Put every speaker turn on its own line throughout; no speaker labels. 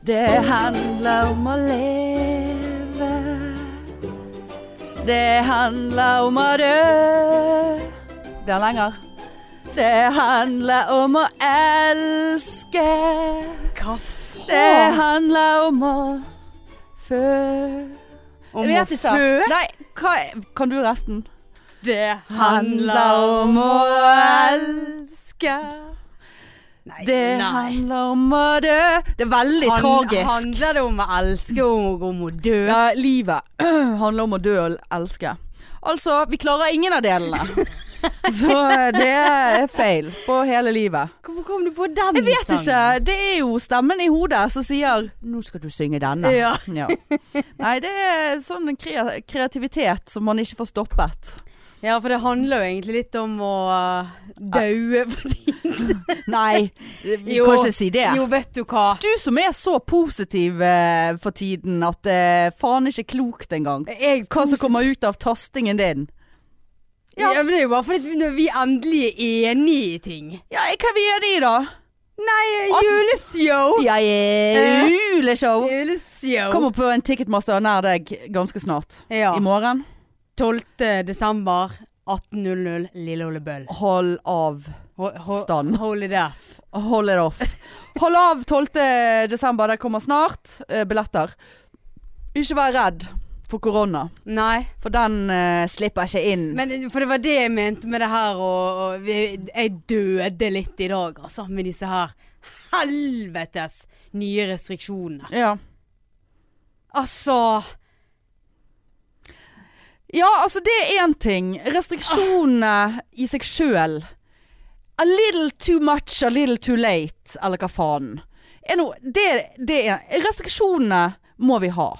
Det handler om å leve. Det handler om å dø. Blir lenger. Det handler om å elske.
Hva
Det
faen?
handler om å fø...
Om å fø?
Nei, hva, kan du resten?
Det
elske.
Nei,
Det
nei.
handler om å dø. Det er veldig
Han-
tragisk.
Handler det om å elske og om å dø?
Ja, livet handler om å dø og elske. Altså, vi klarer ingen av delene. Så eh, det er feil på hele livet.
Hvorfor kom du på den
Jeg vet ikke. Det er jo stemmen i hodet som sier 'nå skal du synge denne'.
Ja.
Nei, det er sånn kre kreativitet som man ikke får stoppet.
Ja, for det handler jo egentlig litt om å uh, daue for tiden.
Nei, vi
Jo.
kan ikke si det.
Jo, vet du hva.
Du som er så positiv eh, for tiden at det faen ikke er klokt engang.
Jeg,
Hva som kommer ut av tastingen din.
ja. men Det er jo bare fordi at når vi endelig er enige i ting.
Ja, hva er vi enige i da?
Nei,
At-
juleshow!
Jeg er
Eh.
juleshow.
Juleshow.
Kommer på en ticketmaster nær deg ganske snart.
Ja.
I morgen.
12. desember 18.00 Lille Ole Bøll.
Hold av.
Ho- ho-
Stand.
Holy death.
Hold it off. Hold av 12. desember. Det kommer snart eh, billetter. Ikke vær redd for korona,
Nei,
for den eh, slipper ikke inn.
men for det var det jeg mente med det her og, og vi- Jeg døde litt i dag, altså, med disse her helvetes nye restriksjonene.
ja.
Altså
ja, altså det er én ting. Restriksjonene i seg sjøl. A little too much, a little too late, eller hva faen. Er noe- det, det er, restriksjonene må vi ha.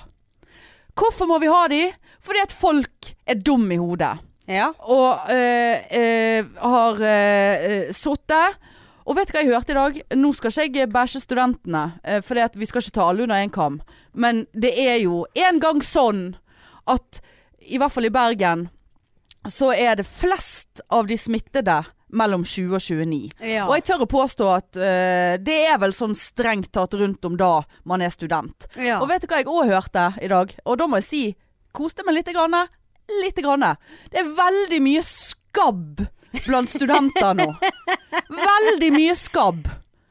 Hvorfor må vi ha de? Fordi at folk er dum i hodet.
Ja.
og øh, øh, har øh, øh, sittet. Og vet du hva jeg hørte i dag? Nå skal ikke jeg bæsje studentene, øh, for vi skal ikke ta alle under én kam. Men det er jo en gang sånn at i hvert fall i Bergen så er det flest av de smittede mellom 20 og 29.
ja.
Og jeg tør å påstå at øh, det er vel sånn strengt tatt rundt om da man er student.
ja.
Og vet du hva jeg òg hørte i dag? Og da må jeg si koste meg lite grann. Lite grann. Det er veldig mye skabb blant studenter nå. Veldig mye skabb.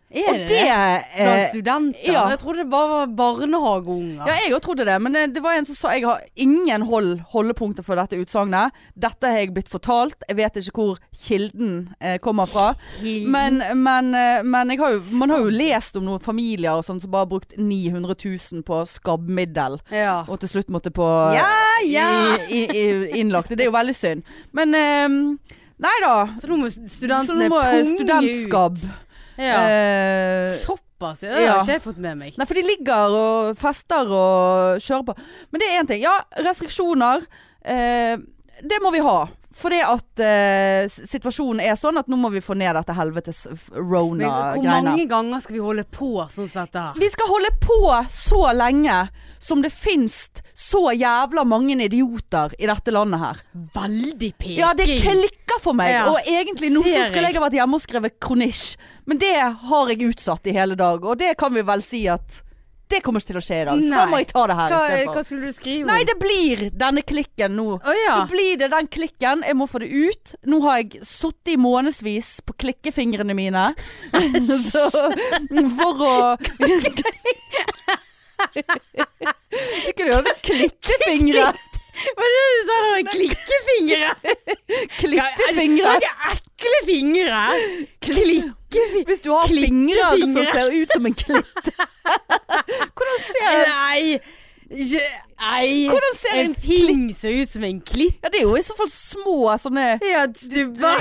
er
Og
det
det
det? Blant
eh,
studenter?
ja.
Jeg trodde det bare var barnehageunger.
ja, jeg òg trodde det, men eh, det var en som sa Jeg har ingen hold, holdepunkter for dette utsagnet. Dette har jeg blitt fortalt. Jeg vet ikke hvor kilden eh, kommer fra.
Hilden.
Men, men, eh, men jeg har jo, man har jo lest om noen familier og sånn som bare har brukt 900 000 på skabbmiddel.
ja.
Og til slutt måtte på eh,
Ja, ja.
i, i, i, innlagt. Det er jo veldig synd. Men ehm, nei da.
Så nå må
Så nå
studentene
må eh,
punge ut.
studentskabb
Ja.
eh,
Såpass, ja, det har
ja.
ikke jeg fått med meg.
Nei, for de ligger og fester og kjører på. Men det er én ting. Ja, restriksjoner. Eh, det må vi ha. For det at eh, s- situasjonen er sånn at nå må vi få ned dette helvetes f-
Men hvor
rona-greiene.
mange ganger skal vi holde på sånn som dette her?
Vi skal holde på så lenge som det finnes så jævla mange idioter i dette landet her.
Veldig peking.
Ja, det klikker for meg.
Ja.
Og egentlig nå så
Ser
skulle
jeg.
jeg ha vært hjemme og skrevet kronisj, men det har jeg utsatt i hele dag. Og det kan vi vel si at det kommer ikke til å skje i dag. Så da
Nei.
må jeg ta det her
hva, hva
istedenfor.
skulle du skrive om?
Nei, det blir denne klikken nå.
Å ja.
Nå blir det den klikken. Jeg må få det ut. Nå har jeg sittet i månedsvis på klikkefingrene mine. Så, for å Ikke du har sånn klittefingre?
Hva er det du sa der? Klikkefingre?
Klittefingre.
Ja, er- Ekle fingre? Klikkefingre?
Hvis du har fingre
Klittefingre.
som ser ut som en klitt. Hvordan ser
Nei! Ikke- Nei.
Hvordan ser en
en fing ser ut som en klitt?
Ja, det er jo i så fall små sånne
Ja, stubber.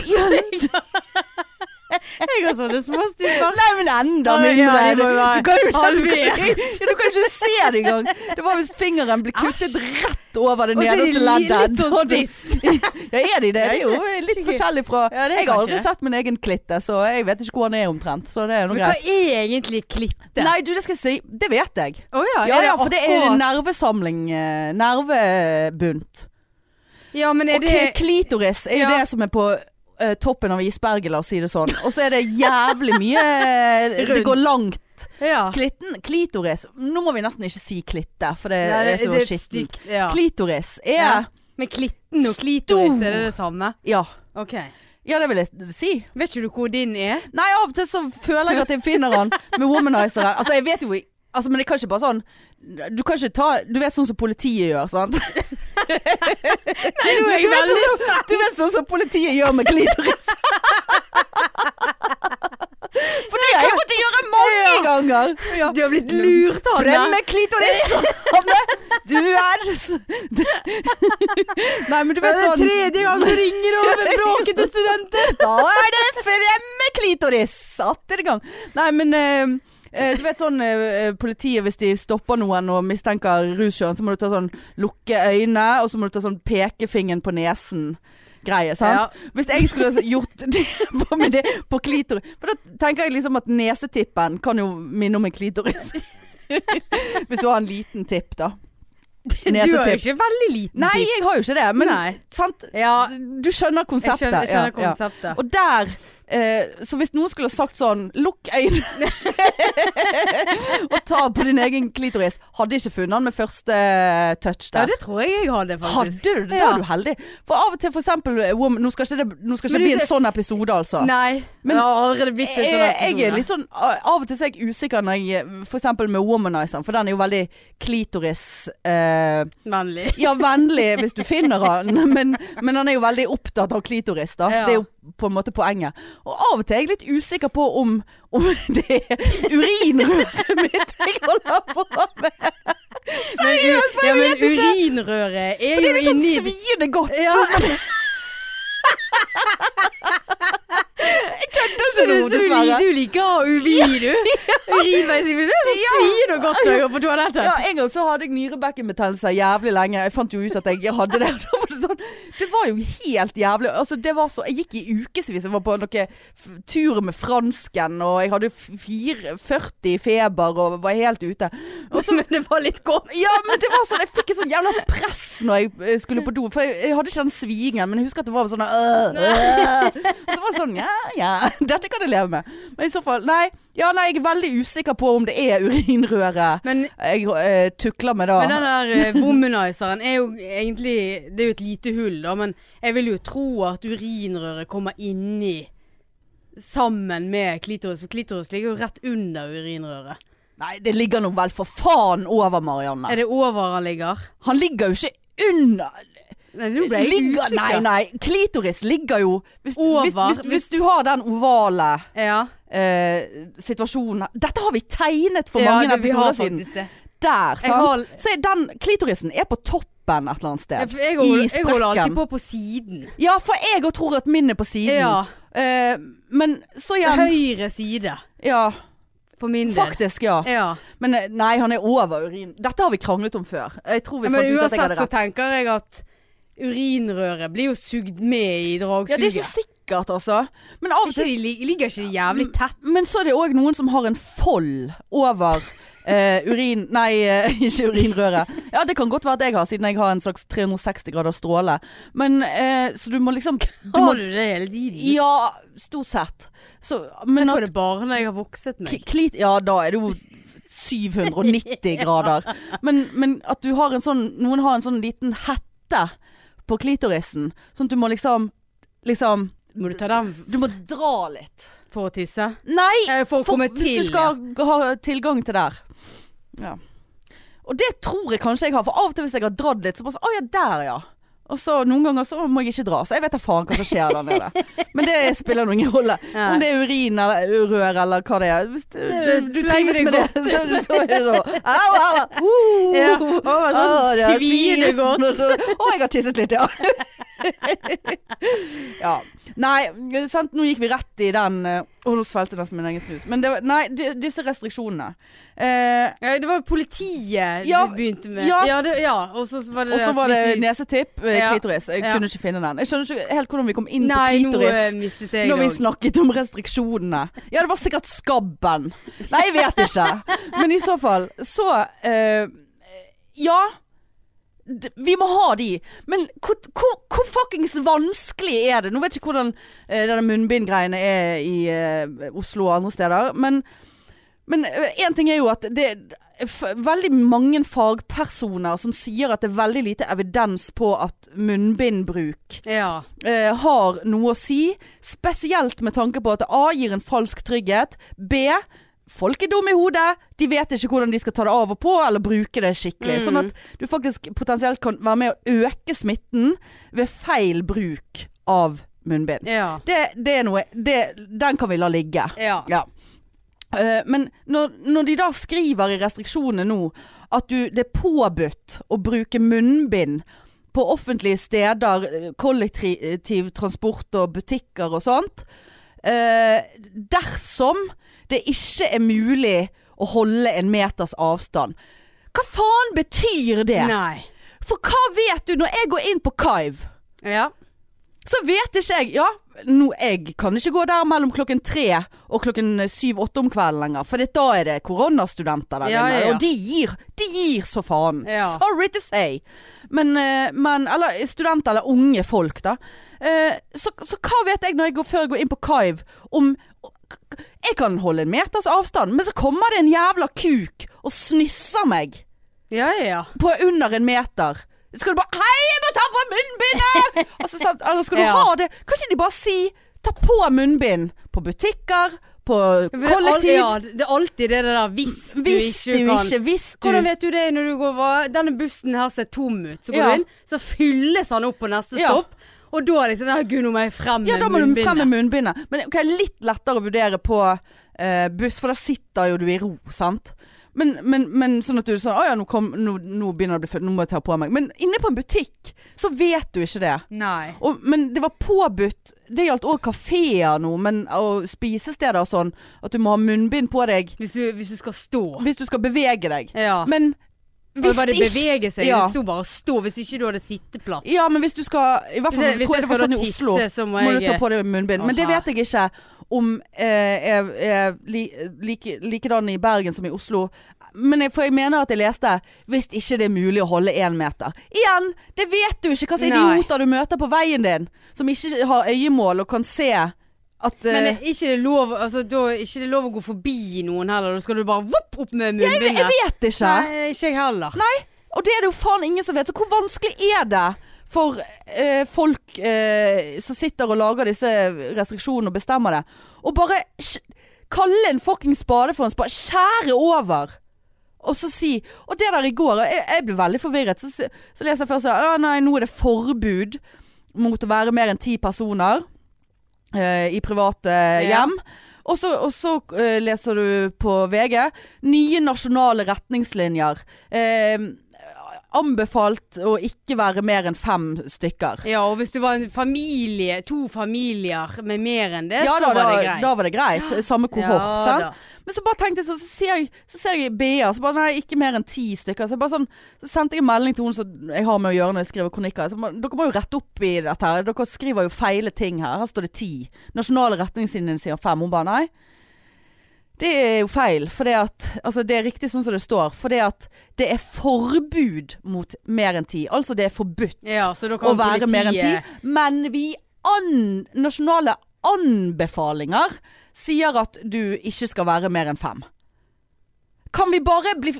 jeg har sånne små stubber.
Nei, men enda
Ja, men
mindre.
ja, det
du,
må jo være
du kan jo
halvert.
Ja, du kan ikke se det engang. Det var hvis fingeren ble kuttet rett over det
Og så er de
nederste
li-
leddet.
litt sånn
Da er det- Ja, er de det? Det er jo litt
skikkelig.
forskjellig fra
Ja, det er
Jeg har
kanskje
aldri
det.
sett min egen klitte, så jeg vet ikke hvor han er omtrent. Så det er jo noe
Men hva
greit.
er egentlig klitte?
Nei, du, det skal jeg si. Det vet jeg.
Å ja,
Ja, ja, for det er
akkurat-
nervesamling. eh, Nervebunt.
Ja, men er
Og kli-
det
klitoris er jo
Ja.
det som er på eh, toppen av isberget, la oss si det sånn. Og så er det jævlig mye Det
Rundt.
går langt klitt.
Ja.
Klitten, klitoris Nå må vi nesten ikke si klitte, for det,
Nei,
er så
det
skittent.
stygt, Ja.
Klitoris er Eh, ja.
Ja. Men klitten og klitoris,
Stor.
er det det samme?
ja.
Ok.
det vil jeg si.
Vet ikke du hvor din er?
Nei, av og til så føler jeg at jeg finner han med womanizeren. Altså, jeg vet jo altså, Men jeg kan ikke bare sånn Du kan ikke ta Du vet sånn som politiet gjør, sant?
Nei, nå
du, vet sånn, som- du vet sånn som politiet gjør med klitoris. For det har jeg måttet gjøre mange ganger. Ja.
Du har blitt lurt, Hanne.
Fremme klitoris! Hanne, du er s- Nei, men du
Det
vet
er
sånn
tredje gang du ringer over bråkete studenter.
Da er det fremme klitoris! Atter i gang. Nei, men eh, eh, du vet sånn eh, eh, politiet hvis de stopper noen og mistenker ruskjøring, så må du ta sånn lukke øynene, og så må du ta sånn pekefingeren på nesen. Greie, sant? Hvis jeg skulle ha gjort det på, med det, på klitoris For da tenker jeg liksom at nesetippen kan jo minne om en klitoris. Hvis du har en liten tipp, da.
Du er jo
Nesetipp.
ikke veldig liten.
Nei, jeg har jo ikke det, men
Nei.
sant?
Ja,
Du skjønner
jeg
konseptet.
skjønner, jeg
Ja,
skjønner
ja.
konseptet.
Og der eh, Så hvis noen skulle ha sagt sånn Lukk øynene og ta på din egen klitoris, hadde ikke funnet den med første eh, touch
Ja,
der.
det tror jeg jeg hadde,
hadde
faktisk.
du det? Da
Ja.
er du heldig. For av og til, for eksempel eh, woman, Nå skal ikke det nå skal
Men
ikke bli
du-
en sånn episode, altså.
Nei.
Men-
det har allerede blitt en
Jeg,
sånn
jeg er
episode.
litt sånn Av og til så er jeg usikker når jeg For eksempel med womanizeren, for den er jo veldig klitoris... Eh,
Vennlig.
ja, vennlig hvis du finner han, men, men han er jo veldig opptatt av klitoris, da.
Ja.
Det er jo på en måte poenget. Og av og til er jeg litt usikker på om, om det er urinrøret mitt jeg holder på med.
Seriøst,
jeg
ja, men
vet ikke.
urinrøret er
Det
jo
er litt sånn
inni
sviende godt.
Ja.
Sånn, Det er
Så
ikke
du,
noe,
så du,
dessverre.
du liker å ha urin, du. Urinveis i munnen. Det er så svir og godt når jeg går på toalettet.
Ja, en gang så hadde jeg nyrebekkenbetennelse jævlig lenge. Jeg fant jo ut at jeg hadde det. Da var det, sånn, det var jo helt jævlig. Altså, det var så, jeg gikk i ukevis. Jeg var på noen f- turer med fransken, og jeg hadde fire, 40 i feber og var helt ute.
men det var litt godt.
Ja, men det var sånn, jeg fikk et sånn jævla press når jeg eh, skulle på do. For jeg, jeg hadde ikke den svingen, men jeg husker at det var sånn øh, øh. Og Så var det sånn, ja, ja, dette kan jeg leve med. Men i så fall, nei, ja, nei, jeg er veldig usikker på om det er urinrøret
Men,
jeg eh, tukler med da.
men den der eh, womanizeren er jo egentlig Det er jo et lite hull, da, men jeg vil jo tro at urinrøret kommer inni sammen med klitoris, for klitoris ligger jo rett under urinrøret.
Nei, det ligger nå vel for faen over Marianne.
Er det over han ligger?
Han ligger jo ikke under
Nei, nå ble jeg
ligger,
usikker.
Nei, nei, klitoris ligger jo hvis,
Over,
hvis, hvis, hvis
hvis-
du har den ovale
Ja,
eh, situasjonen Dette har vi tegnet for
ja,
mange
det- vi har
episoder siden.
faktisk det.
Der,
Jeg
sant?
har-
Så er den klitorisen er på toppen et eller annet
Jeg,
sted.
jeg,
I
holder, jeg holder
sprekken.
alltid på på siden.
Ja, for jeg òg tror at min er på siden.
Ja.
Eh, men så igjen
Høyre side,
Ja,
for min del.
faktisk, ja.
Ja.
Men eh, nei, han er over urin. Dette har vi kranglet om før. Jeg tror vi
Ja, Men
fant ut at jeg
uansett
hadde
så
rett.
tenker jeg at urinrøret blir jo sugd med i
Ja,
dragsuget.
det er ikke sikkert, altså. Men av og
Ikke
til
de lig- ligger ikke de
Mm.
jævlig tett?
Men så er det òg noen som har en fold over eh, urin... Nei, eh, ikke urinrøret. Ja, det kan godt være at jeg har, siden jeg har en slags 360 grader stråle. Men eh, Så du må liksom du må,
Har du det hele tiden?
Ja, stort sett. Så, men
jeg får
at
det bare når jeg har vokset meg.
klit, Ja, da er det jo 790 grader. Men, men at du har en sånn Noen har en sånn liten hette på klitorisen, sånn at du må liksom Liksom
Må du ta den f-
Du må dra litt.
for å tisse?
Nei!
Eh, For å komme
hvis
til.
du skal ha tilgang til der. Ja. Og det tror jeg kanskje jeg har, for av og til hvis jeg har dratt litt, så bare sånn Å ja, der ja. Og så noen ganger så må jeg ikke dra, så jeg vet da faen hva som skjer der nede. Men det spiller nå ingen rolle.
Nei.
Om det er urin eller urør eller hva det er. Hvis du, du, du
Sleng
trives
det
med det, så, så er det da Au, au, au. Uh.
Ja, å,
Å, det
sånn
er
svinegodt.
svinegodt. Å, jeg har tisset litt, ja. ja. Nei, sant? nå gikk vi rett i den eh, Å, nå svelgte jeg nesten min egen snus. Men det var, nei, di- disse restriksjonene. Eh,
Ja, det var politiet
Ja,
du begynte med.
ja.
det, ja. og så var det
og så var det nesetipp, eh,
Ja.
klitoris. Jeg
Ja.
kunne ikke finne den. Jeg skjønner ikke helt hvordan vi kom inn
Nei,
på
nå eh,
klitoris.
mistet jeg
Når vi
det òg.
snakket om restriksjonene. Ja, det var sikkert skabben. Nei, jeg vet ikke. Men i så fall, så eh, Ja. D- Vi må ha de. Men hvor, hvor, hvor fuckings vanskelig er det? Nå vet jeg ikke hvordan eh, denne munnbindgreiene er i eh, Oslo og andre steder, men Men én ting er jo at det er f veldig mange fagpersoner som sier at det er veldig lite evidens på at munnbindbruk
Ja.
eh, har noe å si. Spesielt med tanke på at A gir en falsk trygghet. B folk er dumme i hodet. De vet ikke hvordan de skal ta det av og på eller bruke det skikkelig.
Mm.
Sånn at du faktisk potensielt kan være med å øke smitten ved feil bruk av munnbind.
Ja.
Det, det er noe det, Den kan vi la ligge.
Ja.
Ja. Eh, men når, når de da skriver i restriksjonene nå at du, det er påbudt å bruke munnbind på offentlige steder, eh, kollektiv transport og butikker og sånt, eh, dersom det ikke er mulig å holde en meters avstand. Hva faen betyr det?
Nei.
For hva vet du når jeg går inn på Kaiv?
Ja.
Så vet ikke jeg Ja, nå, jeg kan ikke gå der mellom klokken tre og klokken syv-åtte om kvelden lenger. For det, da er det koronastudenter der
Ja,
inne.
ja, ja.
Og de gir, de gir så faen.
Ja.
Sorry to say. Men, eh, men Eller studenter eller unge folk, da. Eh, Så, så hva vet jeg når jeg går, før jeg går inn på Kaiv om Jeg kan holde en meters avstand, men så kommer det en jævla kuk og snisser meg
Ja, ja, ja.
på under en meter. Skal du bare 'Hei, jeg må ta på munnbindet!' altså, sant? Eller skal du
Ja.
ha det? Kan ikke de bare si 'ta på munnbind' på butikker, på
For det er al-
kollektiv?
Ja, det er alltid det der hvis,
Hvis
du ikke kan.
ikke, hvis du
Hvordan vet du det når du går over Denne bussen her ser tom ut. Så går
Ja.
du inn, så fylles han opp på neste
Ja.
stopp. Og da liksom «Nei, Gud, nå må jeg frem med
Ja, da må du frem med
munnbindet.
munnbindet. Men ok, litt lettere å vurdere på eh, buss, for da sitter jo du i ro, sant? Men, men, men sånn at du er sånn 'Å ja, nå, kom, nå, nå begynner det å bli fullt, nå må jeg ta på meg'. Men inne på en butikk, så vet du ikke det.
Nei.
Og, men det var påbudt, det gjaldt òg kafeer nå, men, og spisesteder og sånn, at du må ha munnbind på deg
Hvis du, hvis du skal stå.
hvis du skal bevege deg.
Ja.
Men
Hvis
hvis
bare
ikke-
bevege seg.
Ja.
Det sto bare å stå. Hvis ikke du hadde sitteplass.
Ja, men hvis du skal I hvert
Hvis
fall
jeg, hvis
tror jeg
jeg
det var
skal da
sånn i Oslo.
tisse, så må
Må du
jeg
ta på deg munnbind. Men det
Aha.
vet jeg ikke om eh, er, er li, like, likedan i Bergen som i Oslo. Men jeg, for jeg mener at jeg leste hvis ikke det er mulig å holde én meter. Igjen, det vet du ikke hva slags
Nei.
idioter du møter på veien din. Som ikke har øyemål og kan se at
Men
eh,
er ikke det lov, altså, da er ikke det lov å gå forbi noen heller? Da skal du bare vopp opp med
jeg,
munnbindet.
jeg vet ikke.
Nei, ikke jeg heller.
Og det er det jo faen ingen som vet. Så hvor vanskelig er det for eh, folk eh, som sitter og lager disse restriksjonene og bestemmer det, å bare sk- kalle en fucking spade for en spade? Skjære over! Og så si Og det der i går Jeg, jeg ble veldig forvirret. Så, s- så leser jeg først at nei, nå er det forbud mot å være mer enn ti personer eh, i private
Ja.
hjem. Og så, og så eh, leser du på VG nye nasjonale retningslinjer. Eh, anbefalt å ikke være mer enn fem stykker.
Ja, og hvis det var en familie, to familier med mer enn det,
Ja
så
da,
var
da,
det greit.
da var det greit. Samme kohort.
Ja
sant?
da.
Men så bare tenkte jeg sånn, så ser jeg, så ser jeg BA, så bare nei, ikke mer enn ti stykker. Så, jeg bare sånn, så sendte jeg en melding til hun som jeg har med å gjøre når jeg skriver kronikker. Så bare, dere må jo rette opp i dette her. Dere skriver jo feile ting her. Her står det ti. Nasjonale retningslinjer sier fem. Hun bare nei. Det er jo feil, for det at Altså, det er riktig sånn som det står, for det at det er forbud mot mer enn ti. Altså, det er forbudt
Ja, så da
å
kan
være mer enn ti.
politiet
Men vi an, nasjonale anbefalinger sier at du ikke skal være mer enn fem. Kan vi bare, bli,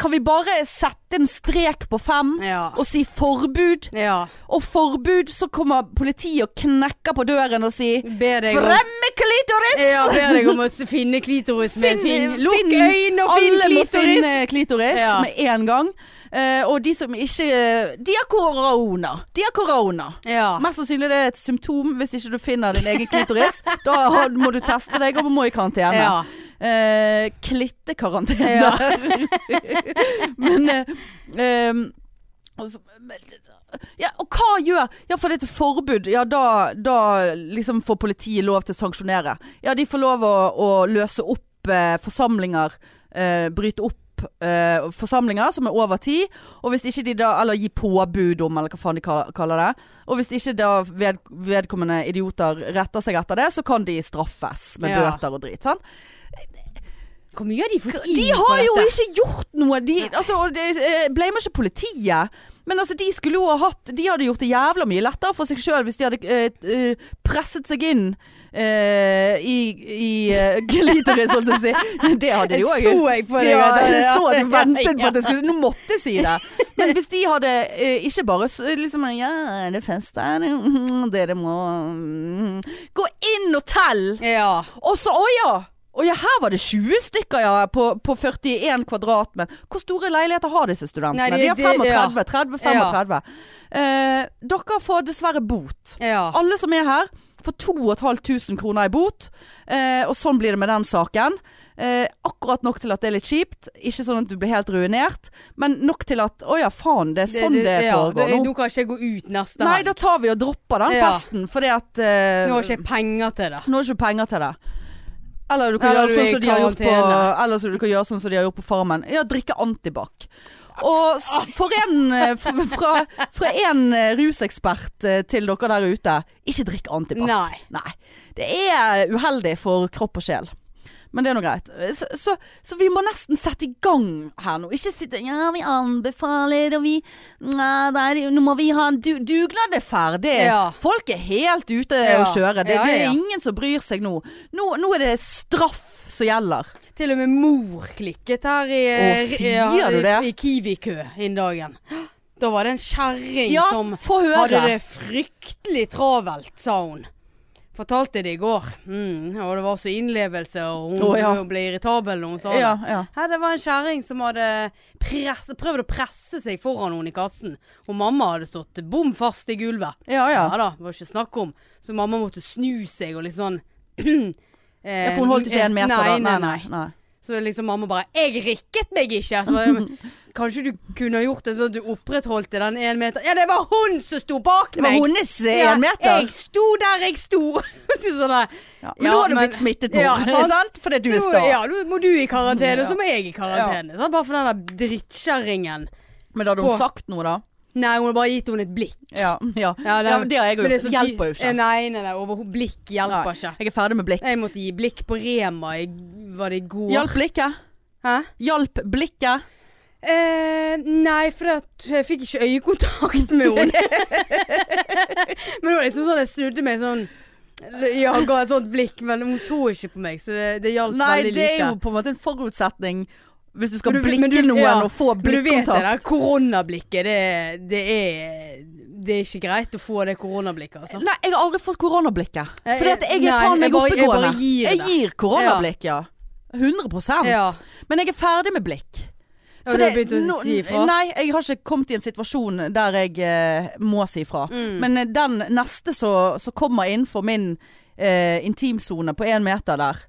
kan vi bare sette en strek på fem
Ja.
og si forbud?
ja.
Og forbud, så kommer politiet og knekker på døren og sier
Be deg om
Frem med klitoris!
ja, ber deg om å finne klitoris Eh, med
Finn-
en fin Lukk
finn-
øynene og finn
Alle må
klitoris!
finne klitoris
Ja.
med en gang. Eh, og de som ikke eh, De har korona. De har korona.
Ja.
Mest sannsynlig det er et symptom hvis ikke du finner din egen klitoris. da har- må du teste deg og må i karantene.
ja.
Eh, Klittekarantene.
Ja.
Men eh, ehm, og så- men- ja, og hva gjør Ja, for det er et forbud. Ja, da, da liksom får politiet lov til å sanksjonere. Ja, de får lov å, å løse opp eh, forsamlinger. Eh, bryte opp eh, forsamlinger som er over ti. Og hvis ikke de da Eller gi påbud om, eller hva faen de kal- kaller det. Og hvis ikke da ved, vedkommende idioter retter seg etter det, så kan de straffes med
Ja.
bøter og drit. Sant?
Hvor mye har de fått inn
De
på
har jo
dette?
ikke gjort noe! De, altså, og det eh, blamer ikke politiet. Men altså, de skulle jo ha hatt De hadde gjort det jævla mye lettere for seg sjøl hvis de hadde eh, t- eh, presset seg inn eh, i, i eh, glitoris, holdt jeg på å si. Det hadde de jo
Så jeg på deg.
Ja,
at-
jeg så at de ventet på
Ja.
at jeg skulle Nå måtte jeg si det. Men hvis de hadde eh, ikke bare s- liksom Ja, er det fest der? Mm, Det det må mm. Gå inn og tell!
Ja.
Og så, å ja! Å ja, her var det 20 stykker ja, på, på 41 kvadrat. Men hvor store leiligheter har disse studentene?
Nei, de-
de, har
de-
35.
ja.
30, 35. Eh, dere får dessverre bot.
ja.
Alle som er her, får 2500 kroner i bot. Eh, og sånn blir det med den saken. Eh, akkurat nok til at det er litt kjipt. Ikke sånn at du blir helt ruinert, men nok til at Å ja, faen, det er sånn det,
ja,
foregår
da-
nå.
Nå kan ikke jeg gå ut neste
Nei,
helg.
da tar vi og dropper den
Ja.
festen, fordi at eh,
Nå har ikke jeg penger til det.
nå har du ikke penger til det. Eller du kan gjøre
Eller du er
sånn
i
som de har gjort på
karantene.
Eller så du kan gjøre sånn som de har gjort på Farmen. Ja, drikke antibac. Og
Ah.
s- for en eh, f- Fra, fra en eh, rusekspert eh, til dere der ute, ikke drikk antibac.
Nei.
Nei. Det er uheldig for kropp og sjel. Men det er nå greit. Så, så, så vi må nesten sette i gang her nå. Ikke sitte Ja, vi anbefaler, og vi Nei, der, nå må vi ha en du, dugnad er ferdig.
Ja.
Folk er helt ute
Ja.
å kjøre. Det,
Ja,
det
ja, ja.
er ingen som bryr seg nå. nå. Nå er det straff som gjelder.
Til og med mor klikket her i,
Å, sier
ja,
du det?
i, i Kiwi-kø en dagen. Da var det en kjerring
Ja,
som
få
hadde
høre.
det fryktelig travelt, sa hun. Fortalte det i går. Mm, og det var så innlevelse, og hun
Å, ja.
hun ble irritabel når hun sa
Ja,
det.
ja.
Her, det var en kjerring som hadde press, prøvd å presse seg foran henne i kassen. Og mamma hadde stått bom fast i gulvet.
Ja, ja.
Ja da, det var ikke snakk om. Så mamma måtte snu seg og liksom sånn
Ja, For hun holdt ikke en meter
nei,
da.
Nei, nei,
nei.
Så liksom mamma bare 'Jeg rikket meg ikke!' Så bare, «Men Kanskje du kunne ha gjort det sånn at du opprettholdte den en meter Ja, det var hun som sto bak
Det
meg!
var hennes eh,
Ja,
en meter.
Jeg sto der jeg sto! Så sånn der.
Ja. Men
Ja,
nå har du
men-
blitt smittet, mor.
Ja, sant?
sant? Fordi du er
Så,
sta.
Ja, nå må du i karantene,
Ja.
så må jeg i karantene. Sant? Bare for den der drittkjerringen.
Men hadde hun
På-
sagt noe, da?
Nei, hun har bare gitt henne et blikk.
Ja, ja.
Ja,
ja, men det har jeg
men
jo gjort.
det er så
Det hjelper jo
ti-
ikke.
Nei, nei, nei, overho- blikk hjelper
Nei.
ikke.
Jeg er ferdig med blikk.
Jeg måtte gi blikk på Rema i Var det i går?
Eh, Hjalp blikket?
Hæ?
Hjalp blikket?
Eh, nei, for at jeg fikk ikke øyekontakt med henne. men det var liksom sånn jeg snudde meg sånn Ja, ga et sånt blikk, men hun så ikke på meg, så det, det hjalp
Nei,
veldig lite.
det er jo på en måte en forutsetning hvis du skal
Men du-
blikke
men du-
noen
ja.
og få
Men du vet det
blikkontakt.
der koronablikket, det, det er Det er ikke greit å få det koronablikket, altså.
Nei, jeg har aldri fått koronablikket.
Eh,
Fordi at jeg er
nei,
faen
jeg
meg
bare- jeg bare
oppegående.
gir
Jeg
det.
gir koronablikk, ja. 100
Ja.
Men jeg er ferdig med blikk.
Ja, du har begynt å
nå-
si ifra?
Nei, jeg har ikke kommet i en situasjon der jeg eh, må si ifra.
Mm.
Men eh, den neste som som kommer innenfor min eh, intimsone på én meter der,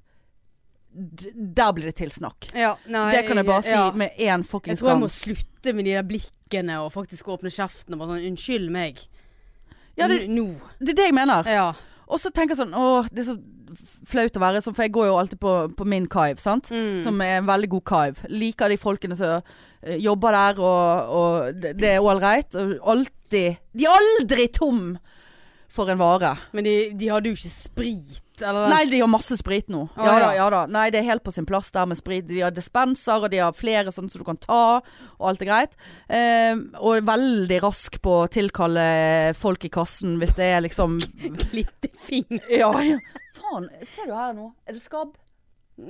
d der blir det tilsnakk.
Ja, nei,
Det kan jeg bare si
ja.
med én fuckings
Jeg tror jeg
gang.
må slutte med de der blikkene og faktisk åpne kjeften og bare sånn Unnskyld meg.
Ja, det-
N- Nå.
Det er det jeg mener.
Ja.
Og så tenker jeg sånn Åh, det er så flaut å være sånn, for jeg går jo alltid på, på min kaiv, sant. Som er en veldig god kaiv. Liker de folkene som eh, jobber der, og, og det, det er ålreit. Og alltid De er aldri tom for en vare.
Men de, de hadde jo ikke sprit, eller?
Nei, de har masse sprit nå.
Å,
Ja da,
ja.
ja da. Nei, det er helt på sin plass der med sprit. De har dispenser, og de har flere sånne som du kan ta, og alt er greit. Ehm, og er veldig rask på å tilkalle folk i kassen hvis det er liksom
Litt fin.
Ja, ja. Faen, ser du her nå? Er det skabb?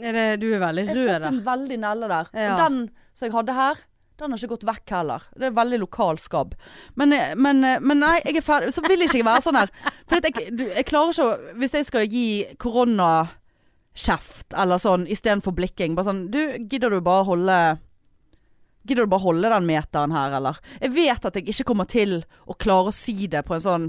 Er det, du er veldig
Jeg har
rød
fått
der.
en veldig nelle der. Og
Ja.
den som jeg hadde her, den har ikke gått vekk heller. Det er veldig lokal skabb. Men, eh, men, men nei, jeg er ferdig. Så vil ikke jeg være sånn her. For at jeg, du, jeg klarer ikke å Hvis jeg skal gi koronakjeft eller sånn istedenfor blikking, bare sånn Du, gidder du bare holde Gidder du bare holde den meteren her, eller? Jeg vet at jeg ikke kommer til å klare å si det på en sånn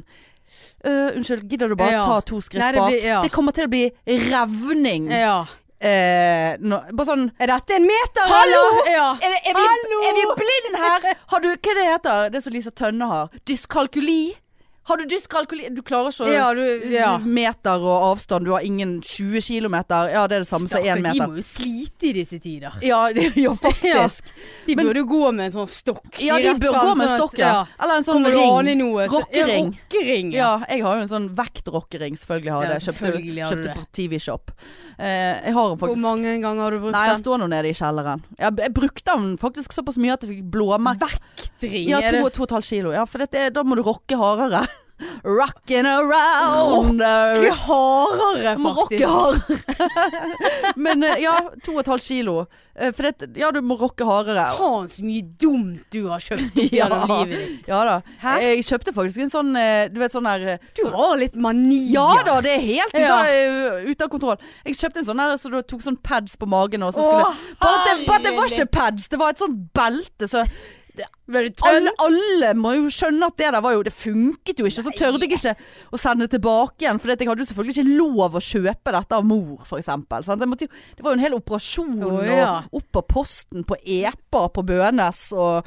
«Øh, unnskyld, gidder du bare
Ja.
ta to skritt
Nei, det
bak?
blir- ja.
Det kommer til å bli revning.
Ja.
Eh, nå, bare sånn
Er dette en meter,
Hallo!
eller? Ja.
er, det- er, vi,
Hallo!
er vi blind her? Har du, hva det heter det som Lisa Tønne har? Dyskalkuli? Har du dyskalkuli... Du klarer ikke å
Ja, du ja.
meter og avstand. Du har ingen 20 kilometer. Ja, det er det samme som én
Stakkar, De
meter.
må jo slite i disse tider.
Ja, det- ja, faktisk.
De
Men-
burde jo gå med en sånn stokk.
Ja,
i
de
rett
bør
frem,
gå med
sånn at-
stokk, ja. Eller en sånn
Kommer du an i
ring.
noe så-
Rockering.
Ja, rockering, ja.
Ja, jeg har jo en sånn vektrockering, selvfølgelig har jeg
Ja,
det. Kjøpte,
selvfølgelig har du
kjøpte
det.
på TV Shop. Eh, jeg har den
Hvor
faktisk
mange ganger har du brukt
Nei, jeg
den?
står nå nede i kjelleren. Jeg, jeg brukte den faktisk såpass mye at jeg fikk blåmerke.
Vektring?
Ja,
er det-
to og to og et halvt kilo. Ja, for dette, er- da må du rocke hardere. Rockin' around the
Ikke hardere,
Du må
faktisk.
rocke hardere. Men eh, ja, to og et halvt kilo. Eh, For det, ja, du må rocke hardere.
Faen så mye dumt du har kjøpt opp gjennom
Ja.
livet ditt.
Ja da.
Hæ?
Jeg kjøpte faktisk en sånn eh, Du vet sånn der eh,
Du har litt manier.
Ja da, det er helt ute
Ja.
av, eh, ute av kontroll. Jeg kjøpte en sånn der så du tok sånn pads på magen, og så skulle
Å,
bare, at det, bare at det var
herregud.
ikke pads, det var et sånt belte, så
Ble du tønn?
alle, alle må jo skjønne at det der var jo Det funket jo ikke. Så tørde jeg ikke å sende det tilbake igjen. For jeg hadde jo selvfølgelig ikke lov å kjøpe dette av mor, for eksempel. Sant? Jeg måtte jo, det var jo en hel operasjon.
Å, ja.
Og opp av posten på Epa på Bønes. Og,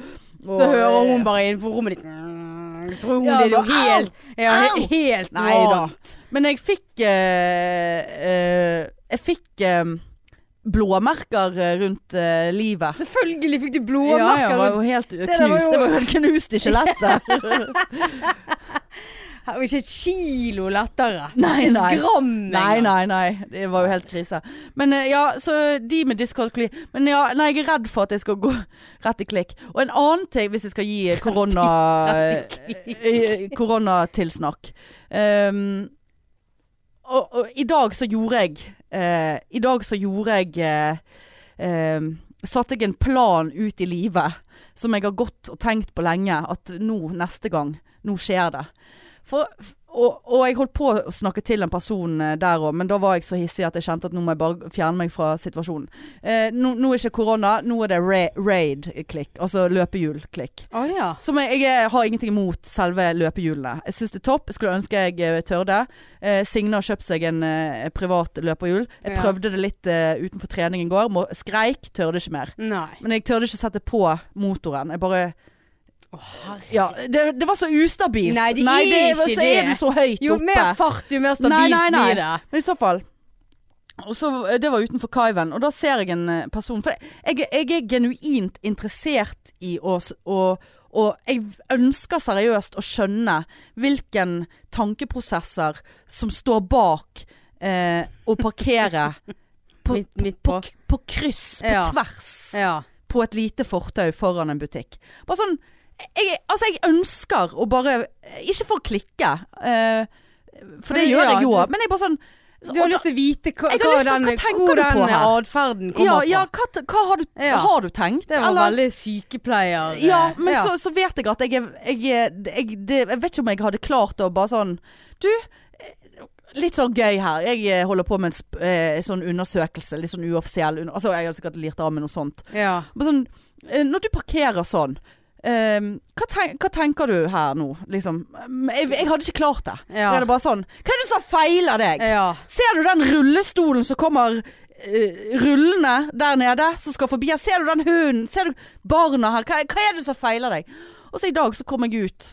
og, eh,
Så hører hun bare innenfor rommet ditt mm, Jeg tror hun
Ja,
det er jo
bare,
helt ja, he-
au.
Helt
Nei da.
annet.
Men jeg fikk eh, eh, Jeg fikk eh, blåmerker eh, rundt eh, livet.
Selvfølgelig fikk
Ja,
du
ja,
blåmerker.
jeg var jo
rundt-
helt eh, knust.
der var jo-
Det var jo helt knust i skjelettet.
Her var Ikke et kilo lettere.
Nei,
Ikke
nei.
Et gram
Nei,
engang.
nei, nei. Det var jo helt krise. Men eh, ja, så de med dyskalkuli Men ja, nei, jeg er redd for at jeg skal gå rett i klikk. Og en annen ting, hvis jeg skal gi korona eh, koronatilsnakk um, og, og i dag så gjorde jeg eh, I dag så gjorde jeg eh, em, Satte jeg en plan ut i livet som jeg har gått og tenkt på lenge. At nå, neste gang, nå skjer det. For, f- og, og jeg holdt på å snakke til en person eh, der òg, men da var jeg så hissig at jeg kjente at nå må jeg bare fjerne meg fra situasjonen. Eh, nå, nå er ikke korona, nå er det ra- raid-klikk. Altså løpehjul-klikk.
Å ja.
Som jeg, jeg har ingenting imot selve løpehjulene. Jeg syns det er topp. Jeg skulle ønske jeg eh, tørde. Eh, Signe har kjøpt seg en eh, privat løperhjul. Jeg
Ja.
prøvde det litt eh, utenfor trening i går. Må, skreik, tørde ikke mer.
Nei.
Men jeg tørde ikke sette på motoren. Jeg bare
Å, herre.
Ja, det, det var så ustabilt.
Nei, det er
var-
ikke
så er
det.
du så høyt
Jo
oppe.
mer fart, jo mer stabilt
Nei, nei, nei.
blir det.
Men i så fall og så, eh, Det var utenfor kaiven, og da ser jeg en eh, person For jeg, jeg er genuint interessert i å s- å- og jeg ønsker seriøst å skjønne hvilken tankeprosesser som står bak eh, å parkere På-
midt, midt
på,
på.
k- på kryss, på
Ja.
tvers,
Ja.
på et lite fortau foran en butikk. Bare sånn jeg, Altså, jeg ønsker å bare Ikke for å klikke, eh, for det
Men
gjør
ja,
jeg jo,
du-
men jeg bare sånn
Du har lyst til å vite hva,
Jeg har
hva
lyst til-
den,
hva tenker
hvor
du på
den
her?
atferden
ja,
kommer
ja,
fra.
hva, t- hva har, du,
Ja.
har du tenkt?
Det var
Eller-
veldig sykepleier...
ja, men
ja.
Så, så vet jeg at jeg, er- jeg, er- jeg, det, jeg vet ikke om jeg hadde klart å bare sånn Du, eh, litt sånn gøy her. Jeg eh, holder på med en sp eh, sånn undersøkelse, litt sånn uoffisiell un- Altså, jeg hadde sikkert lirt av med noe sånt.
ja.
Men sånn, eh, når du parkerer sånn eh, hva, ten hva tenker du her nå, liksom? Jeg, jeg hadde ikke klart det.
Ja.
Det er bare sånn Hva er det som feiler deg?
ja.
Ser du den rullestolen som kommer eh, rullende der nede, som skal forbi her? Ser du den hunden? Ser du barna her? Hva, hva er det som feiler deg? Og så i dag så kom jeg ut,